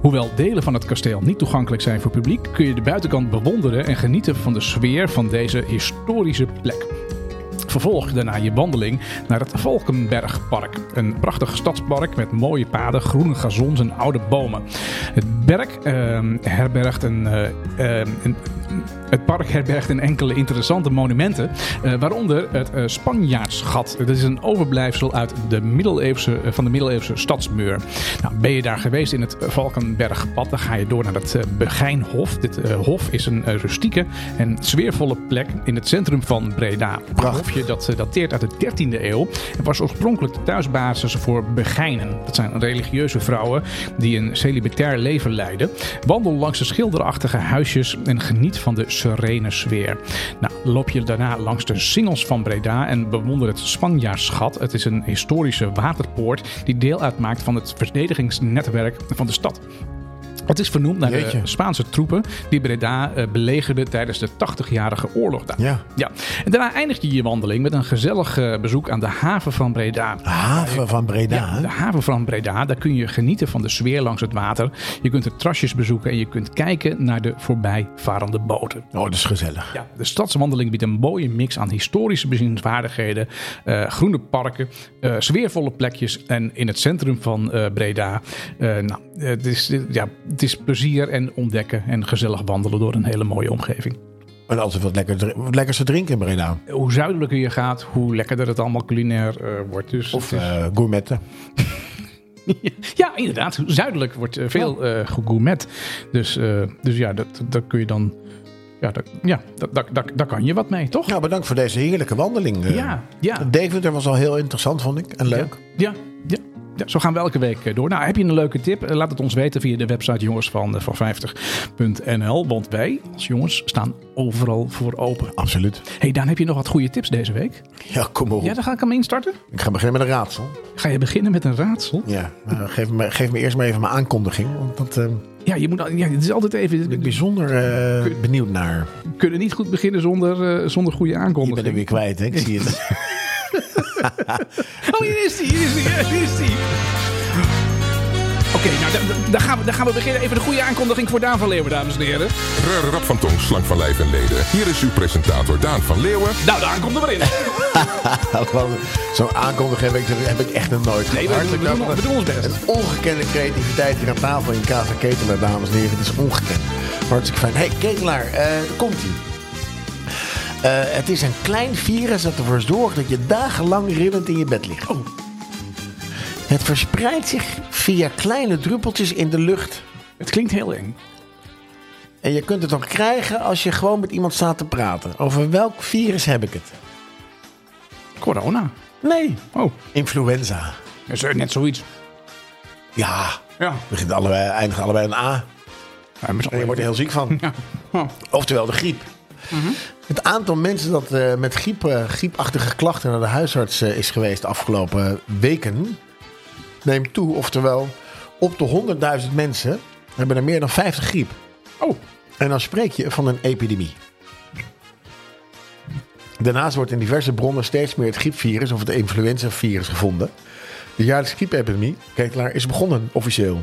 A: Hoewel delen van het kasteel niet toegankelijk zijn voor publiek, kun je de buitenkant bewonderen en genieten van de sfeer van deze historische plek. Vervolg daarna je wandeling naar het Valkenbergpark. Een prachtig stadspark met mooie paden, groene gazons en oude bomen. Het, berk, ehm, herbergt een, eh, ehm, een- het park herbergt een enkele interessante monumenten, eh, waaronder het eh, Spanjaardsgat. Dat is een overblijfsel uit de middeleeuwse, eh, van de middeleeuwse stadsmuur. Nou, ben je daar geweest in het Valkenbergpad, dan ga je door naar het eh, Begijnhof. Dit eh, hof is een eh, rustieke en sfeervolle plek in het centrum van Breda. Prachtig. hofje dat eh, dateert uit de 13e eeuw en was oorspronkelijk de thuisbasis voor Begijnen. Dat zijn religieuze vrouwen die een celibatair leven leiden. Wandel langs de schilderachtige huisjes en geniet van de serene sfeer. Nou, loop je daarna langs de singels van Breda en bewonder het Spanjaardsgat. Het is een historische waterpoort die deel uitmaakt van het verdedigingsnetwerk van de stad. Het is vernoemd naar
B: Jeetje.
A: de Spaanse troepen die Breda eh, belegerden tijdens de 80-jarige oorlog daar.
B: Ja.
A: En daarna eindigt je je wandeling met een gezellig eh, bezoek aan de haven van Breda.
B: Haven van Breda.
A: Ja,
B: hè?
A: de haven van Breda, daar kun je genieten van de sfeer langs het water. Je kunt de trasjes bezoeken en je kunt kijken naar de voorbijvarende boten.
B: Oh, dat is gezellig.
A: Ja, de stadswandeling biedt een mooie mix aan historische bezienswaardigheden, eh, groene parken, eh, sfeervolle plekjes en in het centrum van eh, Breda. eh, nou, eh, het, is, eh, ja, het is plezier en ontdekken en gezellig wandelen door een hele mooie omgeving.
B: En altijd wat lekker, dr- wat lekkers te drinken in Breda.
A: Hoe zuidelijker je gaat, hoe lekkerder het allemaal culinair eh, wordt. Dus
B: Of
A: het is-
B: eh, gourmetten.
A: Ja, inderdaad. Zuidelijk wordt eh, veel eh gegourmet. Dus, eh, dus ja, dat, dat kun je dan. Ja, dat, ja dat, dat, dat, daar kan je wat mee, toch?
B: Nou, bedankt voor deze heerlijke wandeling. eh.
A: Ja, ja.
B: Deventer was al heel interessant, vond ik. En leuk.
A: Ja, ja, ja. Zo gaan we elke week eh, door. Nou, heb je een leuke tip? Eh, Laat het ons weten via de website jongens van, eh, van 50.nl. Want wij als jongens staan overal voor open.
B: Absoluut.
A: hey, Daan, heb je nog wat goede tips deze week?
B: Ja, kom maar op.
A: Ja, dan ga ik hem instarten.
B: Ik ga beginnen met een raadsel.
A: Ga je beginnen met een raadsel?
B: Ja, nou, geef, me, geef me eerst maar even mijn aankondiging. Want dat eh,
A: Ja, je moet, al- ja het is altijd even...
B: ben ik
A: We
B: bijzonder eh, benieuwd naar.
A: kunnen niet goed beginnen zonder, eh, zonder goede
B: Je bent hem
A: aankondiging.
B: weer kwijt, hè? Ik zie het.
A: Oh, hier is hij, hier is hij, hier is hij. Oké, nou, dan- dan- dan gaan, we- dan gaan we beginnen. Even de goede aankondiging voor Daan van Leeuwen, dames en heren.
E: Rare rap van tong, slank van lijf en leden. Hier is uw presentator Daan van Leeuwen.
A: Nou, Daan, komt er maar in.
B: Gewoon Zo'n aankondiging heb ik, heb ik echt nog nooit
A: Nee, we, doen- we,
B: Hartelijk
A: doen,
B: dank.
A: we doen ons best.
B: Een ongekende creativiteit hier aan tafel in Casa Ketelaar, dames en heren. Het is ongekend. Hartstikke fijn. hey, Ketelaar, eh, komt ie. Eh, het is een klein virus dat ervoor zorgt dat je dagenlang rillend in je bed ligt. Oh. Het verspreidt zich via kleine druppeltjes in de lucht.
A: Het klinkt heel eng.
B: En je kunt het ook krijgen als je gewoon met iemand staat te praten. Over welk virus heb ik het?
A: Corona.
B: Nee.
A: Oh,
B: Influenza.
A: dat is eh, net zoiets.
B: Ja.
A: Ja.
B: Begint allebei, eindigt allebei een A.
A: Ja, maar zo-
B: En je wordt er heel ziek van.
A: Ja. Oh, Mhm.
B: Oftewel de griep. Het aantal mensen dat eh, met griep, eh, griepachtige klachten naar de huisarts eh, is geweest de afgelopen weken neemt toe. Oftewel, op de 100.000 mensen hebben er meer dan 50 griep.
A: oh.
B: En dan spreek je van een epidemie. Daarnaast wordt in diverse bronnen steeds meer het griepvirus of het influenzavirus gevonden. De jaarlijkse griepepidemie, Ketelaar, is begonnen officieel.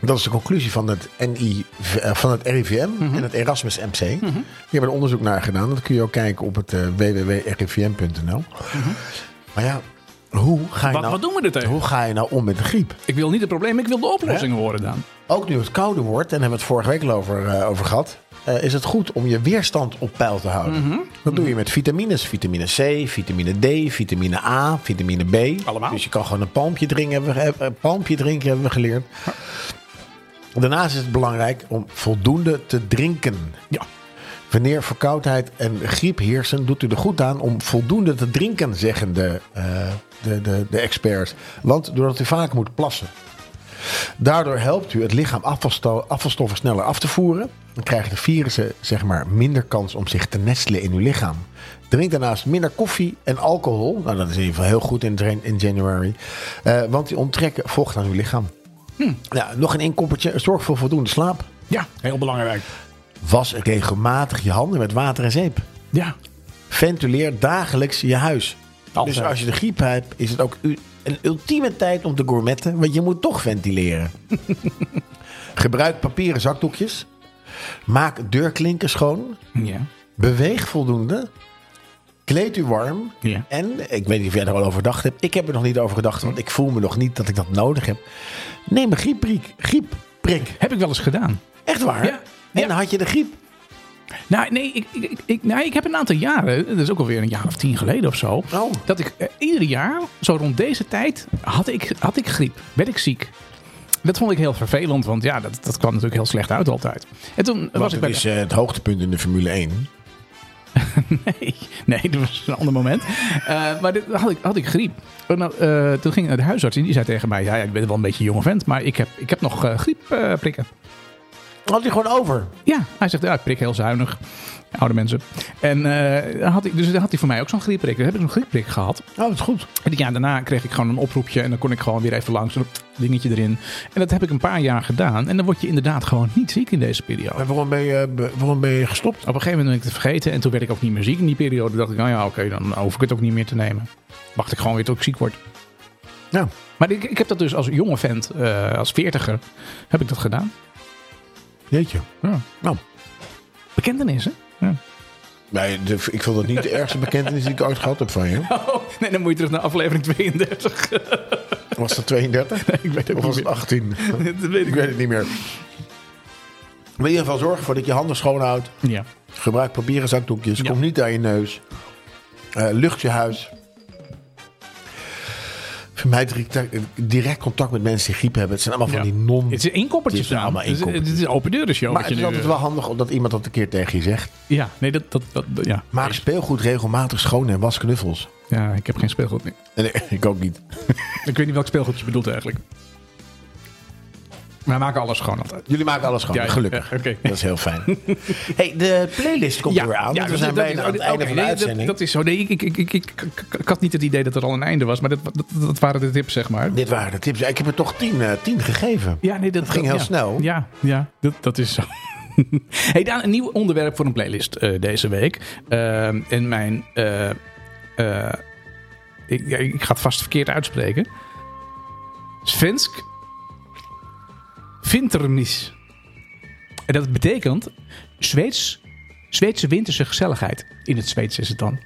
B: Dat is de conclusie van het, NI, eh, van het RIVM
A: Mhm.
B: en het Erasmus MC. Die hebben er onderzoek naar gedaan. Dat kun je ook kijken op het eh, www.rivm.nl. Maar ja, hoe ga
A: Mhm. Wat,
B: je nou...
A: wat doen we er tegen?
B: hoe ga je nou om met de griep?
A: Ik wil niet het probleem, ik wil de oplossing horen, Daan.
B: Ook nu het kouder wordt, en daar hebben we het vorige week al over, eh, over gehad, eh, is het goed om je weerstand op peil te houden. Dat doe je met vitamines. Vitamine C, vitamine D, vitamine A, vitamine B.
A: Allemaal.
B: Dus je kan gewoon een palmpje drinken, hebben we, ge- eh, palmpje drinken, hebben we geleerd. Daarnaast is het belangrijk om voldoende te drinken.
A: Ja.
B: Wanneer verkoudheid en griep heersen, doet u er goed aan om voldoende te drinken, zeggen de, eh, de, de, de experts. Want doordat u vaak moet plassen. Daardoor helpt u het lichaam afvalsto- afvalstoffen sneller af te voeren. Dan krijgen de virussen zeg maar, minder kans om zich te nestelen in uw lichaam. Drink daarnaast minder koffie en alcohol. Nou, dat is in ieder geval heel goed in, jan- in januari. Eh, want die onttrekken vocht aan uw lichaam. Ja, nog een inkoppertje. Zorg voor voldoende slaap.
A: Ja, heel belangrijk.
B: Was regelmatig je handen met water en zeep.
A: Ja.
B: Ventileer dagelijks je huis.
A: Altijd.
B: Dus als je de griep hebt, is het ook u- een ultieme tijd om te gourmetten, want je moet toch ventileren. Gebruik papieren zakdoekjes. Maak deurklinken schoon.
A: Ja.
B: Beweeg voldoende. Kleed u warm.
A: Ja.
B: En, ik weet niet of jij er al over gedacht hebt. Ik heb er nog niet over gedacht, want ik voel me nog niet dat ik dat nodig heb. Neem een griepprik. Griepprik.
A: Heb ik wel eens gedaan.
B: Echt waar?
A: Ja.
B: En
A: Ja.
B: dan had je de griep.
A: Nou, nee, ik, ik, ik, nou, ik heb een aantal jaren, dat is ook alweer een jaar of tien geleden of zo,
B: Oh.
A: dat ik eh, ieder jaar, zo rond deze tijd, had ik, had ik griep, werd ik ziek. Dat vond ik heel vervelend, want ja, dat, dat kwam natuurlijk heel slecht uit altijd. En toen was
B: Want
A: ik
B: het
A: bij
B: is eh, het hoogtepunt in de Formule 1.
A: Nee, nee, dat was een ander moment. Eh, maar dit, had, ik, had ik griep. En nou, eh, toen ging ik naar de huisarts en die zei tegen mij... Ja, ja, ik ben wel een beetje een jonge vent, maar ik heb, ik heb nog eh, griep eh, prikken.
B: Had hij gewoon over.
A: Ja, hij zegt, ja, ik prik heel zuinig. Oude mensen. En eh, dan had ik, dus dan had hij voor mij ook zo'n griepprik. Dus heb ik zo'n griepprik gehad.
B: Oh, dat is goed.
A: En het jaar daarna kreeg ik gewoon een oproepje. En dan kon ik gewoon weer even langs. En dat dingetje erin. En dat heb ik een paar jaar gedaan. En dan word je inderdaad gewoon niet ziek in deze periode.
B: Maar waarom ben je, be- waarom ben je gestopt?
A: Op een gegeven moment ben ik het vergeten. En toen werd ik ook niet meer ziek in die periode. dacht ik, nou ja, oké, dan hoef ik het ook niet meer te nemen. Wacht ik gewoon weer tot ik ziek word.
B: Nou,
A: Maar ik, ik heb dat dus als jonge vent, eh, als veertiger, heb ik dat gedaan.
B: jeetje.
A: Ja.
B: Nou,
A: Bekentenis, hè? Ja.
B: nee, de- ik vond dat niet de ergste bekentenis die ik ooit gehad heb van je.
A: Oh, nee, dan moet je terug naar aflevering 32.
B: Was dat 32?
A: ik weet het
B: Of was het 18?
A: Dat weet
B: Ik weet het niet meer. Maar in ieder geval zorg ervoor dat je handen schoonhoudt.
A: Ja.
B: Gebruik papieren zakdoekjes.
A: Ja.
B: Kom niet aan je neus. Eh, lucht je huis. Vermijd direct- direct contact met mensen die griep hebben. Het zijn allemaal
A: ja.
B: van die non...
A: Het is één koppertje
B: Het is
A: staan.
B: allemaal één
A: Het is- het
B: koppertje.
A: is een open deuren show.
B: maar het is
A: nu,
B: altijd wel handig omdat iemand dat een keer tegen je zegt.
A: eh, Ja, nee, dat... dat, dat dat- ja.
B: Maak speelgoed regelmatig schoon en was knuffels.
A: ja, ik heb geen speelgoed meer.
B: En, eh, ik ook niet.
A: Ik weet niet welk speelgoed je bedoelt eigenlijk. Wij maken alles gewoon altijd.
B: Jullie maken alles schoon,
A: Ja, ja,
B: gelukkig.
A: ja, oké.
B: Dat is heel fijn. hey, de playlist komt er weer aan. want we
A: dus
B: zijn
A: dat-
B: bijna
A: dat-
B: aan het einde
A: oké,
B: van de
A: nee, dat-
B: uitzending.
A: Dat, is zo. Nee, ik, ik, ik, ik, ik, ik- ik had niet het idee dat er al een einde was, maar dat, dat, dat waren de tips, zeg maar.
B: Dit waren de tips. Ik heb er toch tien, eh, tien gegeven.
A: Ja, nee, dat,
B: ging heel
A: ja.
B: snel.
A: Ja, ja dat, dat is zo. hey, Daan, een nieuw onderwerp voor een playlist eh, deze week. Ehm, en mijn. eh, eh, ik, ja, ik ga het vast verkeerd uitspreken. Svensk Vintermis. En dat betekent Zweeds, Zweedse winterse gezelligheid. In het Zweeds is het dan.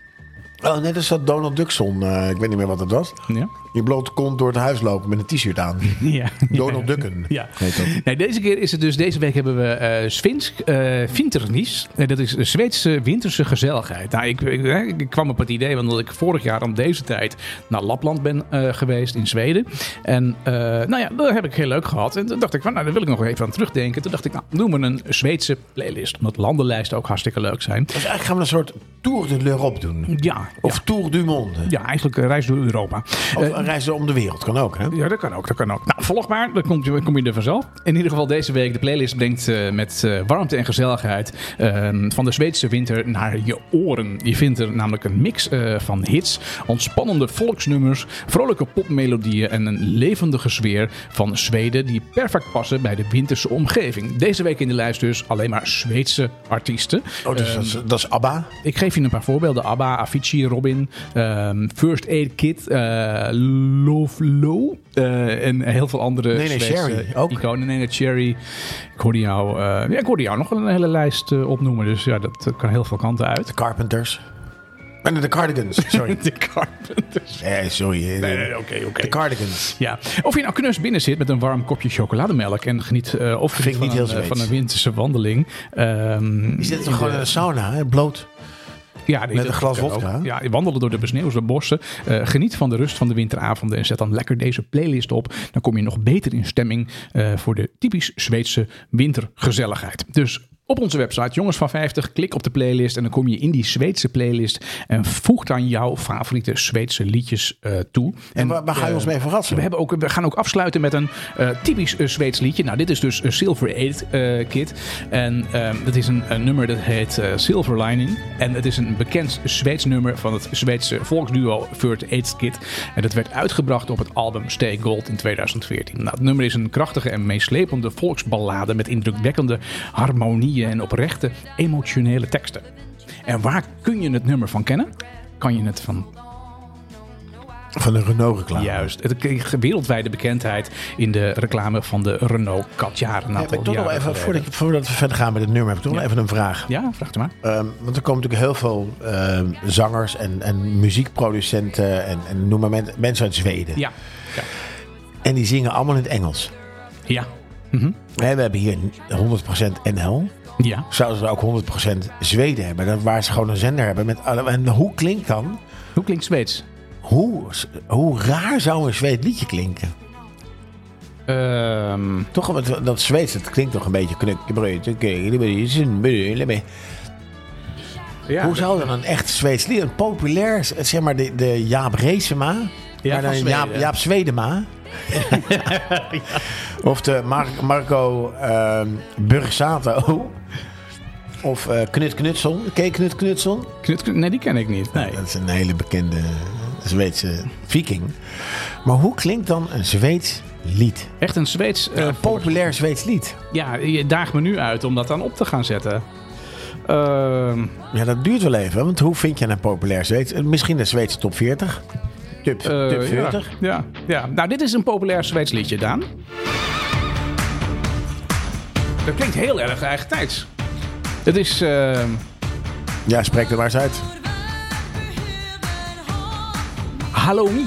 B: Oh, net als dat Donald Duckson. eh, ik weet niet meer wat het was.
A: Ja.
B: Je blote kont door het huis lopen met een t-shirt aan.
A: ja.
B: Donald Ducken.
A: Ja.
B: Heet dat.
A: Nee, deze keer is het dus. Deze week hebben we eh Svensk eh Vinternis. Eh, dat is de Zweedse winterse gezelligheid. Nou, ik, ik, eh, ik kwam op het idee, want omdat ik vorig jaar om deze tijd naar Lapland ben eh, geweest in Zweden. En eh, nou ja, dat heb ik heel leuk gehad. En toen dacht ik, van, nou, daar wil ik nog even aan terugdenken. Toen dacht ik, nou, noem maar een Zweedse playlist. Omdat landenlijsten ook hartstikke leuk zijn.
B: Dus eigenlijk gaan we een soort Tour de l'Europe doen.
A: Ja,
B: Of
A: ja,
B: Tour du Monde.
A: ja, eigenlijk een reis door Europa.
B: Of
A: Eh,
B: een reis om de wereld. Kan ook, hè? Oh,
A: Ja, dat kan ook, dat kan ook. Nou, volg maar, dan kom je, kom je er vanzelf. In ieder geval deze week, de playlist brengt eh, met eh, warmte en gezelligheid eh, van de Zweedse winter naar je oren. Je vindt er namelijk een mix eh, van hits, ontspannende volksnummers, vrolijke popmelodieën en een levendige sfeer van Zweden die perfect passen bij de winterse omgeving. Deze week in de lijst dus alleen maar Zweedse artiesten.
B: Oh, dus dat, is, dat is ABBA.
A: Ik geef je een paar voorbeelden. ABBA, Avicii, Robin, ehm, First Aid Kit, eh Love Low eh, en heel veel andere
B: Nee, nee,
A: Zweedse
B: Cherry ook.
A: iconen. Nee, nee, Cherry. Ik hoorde jou, eh, ja, ik hoorde jou nog wel een hele lijst eh, opnoemen, dus ja, dat eh, kan heel veel kanten uit.
B: Carpenters. En de Cardigans. Sorry.
A: De Carpenters.
B: Eh, sorry. eh,
A: Nee, nee, Oké, oké.
B: De Cardigans.
A: Ja. Of je nou knus binnen zit met een warm kopje chocolademelk en geniet eh, of geniet
B: ik
A: van,
B: niet heel
A: een, eh,
B: Zweeds.
A: van een winterse wandeling. Ehm,
B: Die zitten gewoon in de sauna, hè? bloot.
A: Ja, nee,
B: Met
A: dat
B: een glas
A: kan
B: wodka.
A: ook. Ja, wandelen door de besneeuwde bossen. Eh, geniet van de rust van de winteravonden en zet dan lekker deze playlist op. Dan kom je nog beter in stemming eh, voor de typisch Zweedse wintergezelligheid. Dus op onze website Jongens van 50, klik op de playlist en dan kom je in die Zweedse playlist en voeg dan jouw favoriete Zweedse liedjes eh, toe.
B: En waar, waar ga je ons mee verrassen?
A: We, hebben ook, we gaan ook afsluiten met een eh, typisch eh, Zweeds liedje. Nou, dit is dus eh, Silver Aid eh, Kit. En ehm, dat is een, een nummer dat heet eh, Silver Lining. En het is een bekend Zweeds nummer van het Zweedse volksduo First Aid Kit. En dat werd uitgebracht op het album Stay Gold in 2014. Nou, het nummer is een krachtige en meeslepende volksballade met indrukwekkende harmonieën en oprechte emotionele teksten. En waar kun je het nummer van kennen? Kan je het van
B: Van een Renault-reclame.
A: Juist. Het kreeg wereldwijde bekendheid in de reclame van de Renault Kadjar.
B: Ja,
A: Ja,
B: maar toch nog even, voordat, ik- voordat we verder gaan met het nummer, heb ik toch nog even een vraag.
A: Ja, vraag het maar.
B: Ehm, want er komen natuurlijk heel veel ehm, zangers en, en muziekproducenten en, en noem maar men- mensen uit Zweden.
A: Ja. Ja.
B: En die zingen allemaal in het Engels.
A: Ja.
B: Hè, We hebben hier 100% NL.
A: ja.
B: Zouden ze ook 100% Zweden hebben? Dat waar ze gewoon een zender hebben. Met, alle- en hoe klinkt dan?
A: Hoe klinkt Zweeds?
B: Hoe, hoe raar zou een Zweed liedje klinken?
A: Ehm,
B: Toch, want dat Zweeds, dat klinkt toch een beetje knuk.
A: ja,
B: Hoe zou dan een echt Zweeds lied, een populair, zeg maar de, de Jaap Reesema, maar dan
A: van
B: Jaap,
A: Zweden.
B: Jaap Zwedema, Of de Mar- Marco ehm Bursato. Of eh, Knut Knutson. Ken je Knut Knutson?
A: Knut- knut- Nee, die ken ik niet. Nee.
B: Dat is een hele bekende Zweedse viking. Maar hoe klinkt dan een Zweeds lied?
A: Echt een Zweeds... eh,
B: Een populair Zweeds lied.
A: ja, je daagt me nu uit om dat dan op te gaan zetten. Ehm,
B: Ja, dat duurt wel even. Want hoe vind je een populair Zweeds? eh, Misschien een Zweedse top 40?
A: eh,
B: Top,
A: ja,
B: top 40?
A: ja, ja. Nou, dit is een populair Zweeds liedje, Daan. Dat klinkt heel erg eigen tijds. Het is... ehm,
B: Ja, spreek er maar eens uit.
A: Hallo Mie.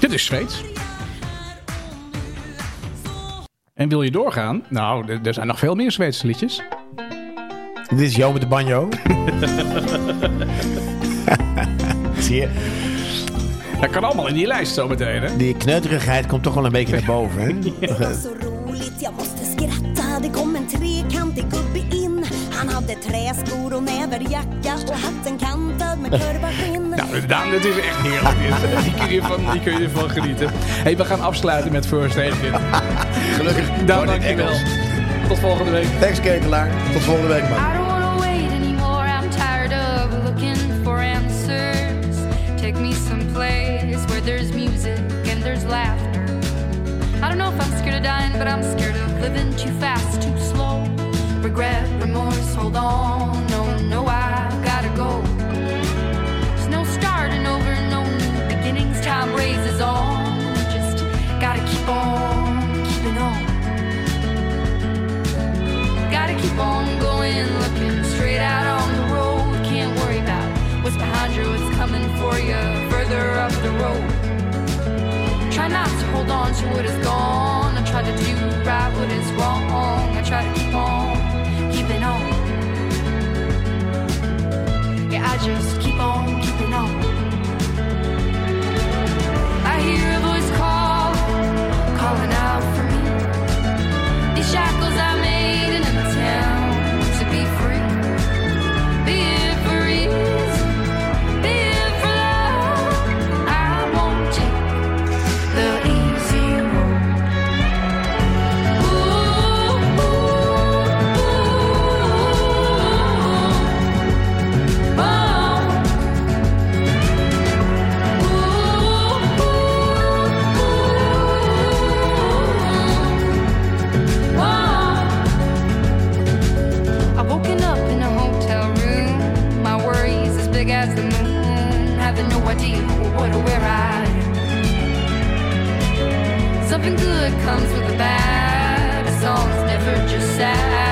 A: Dit is Zweeds. En wil je doorgaan? Nou, er- er zijn nog veel meer Zweedse liedjes.
B: Dit is Jo met de banjo. Zie je?
A: Dat kan allemaal in die lijst zo meteen, hè?
B: Die kneuterigheid komt toch wel een beetje naar boven. Hè?
F: var så roligt, jag måste skratta Det kom en trekantig gubbe in Han hade träskor och näverjacka Och hatten kantad med kurvaskinn
A: Nou, Daan, dit is echt heerlijk. dit. Die kun je van, die kun je van genieten. hey, we gaan afsluiten met First Aid Kit.
B: Gelukkig.
A: Daan, dankjewel. Tot volgende week.
B: Thanks, Ketelaar. Tot volgende week, man.
G: I don't wanna wait anymore. I'm tired of looking for answers. Take me someplace where there's music and there's laughter. I don't know if I'm scared of dying, but I'm scared of living too fast, too slow. Regret, remorse, hold on. No, no, I've gotta go. There's no starting over, no new beginnings. Time raises on. Just gotta keep on keeping on. Gotta keep on going, looking straight out on the road. Can't worry about what's behind you, what's coming for you further up the road. Try not to hold on to what is gone. I try to do right what is wrong. I try to keep on keeping on. Yeah, I just keep on keeping on. I hear a voice call, calling out for me. These shackles I made in an attempt to be free. Be it for ease, be it for love. I won't take the easy road. Ooh, ooh, ooh, oh. Ooh, ooh, ooh. I've woken up in a hotel room. My worries as big as the moon. Having no idea what or where I am. Something good comes with the bad. A song's never just sad. Oh.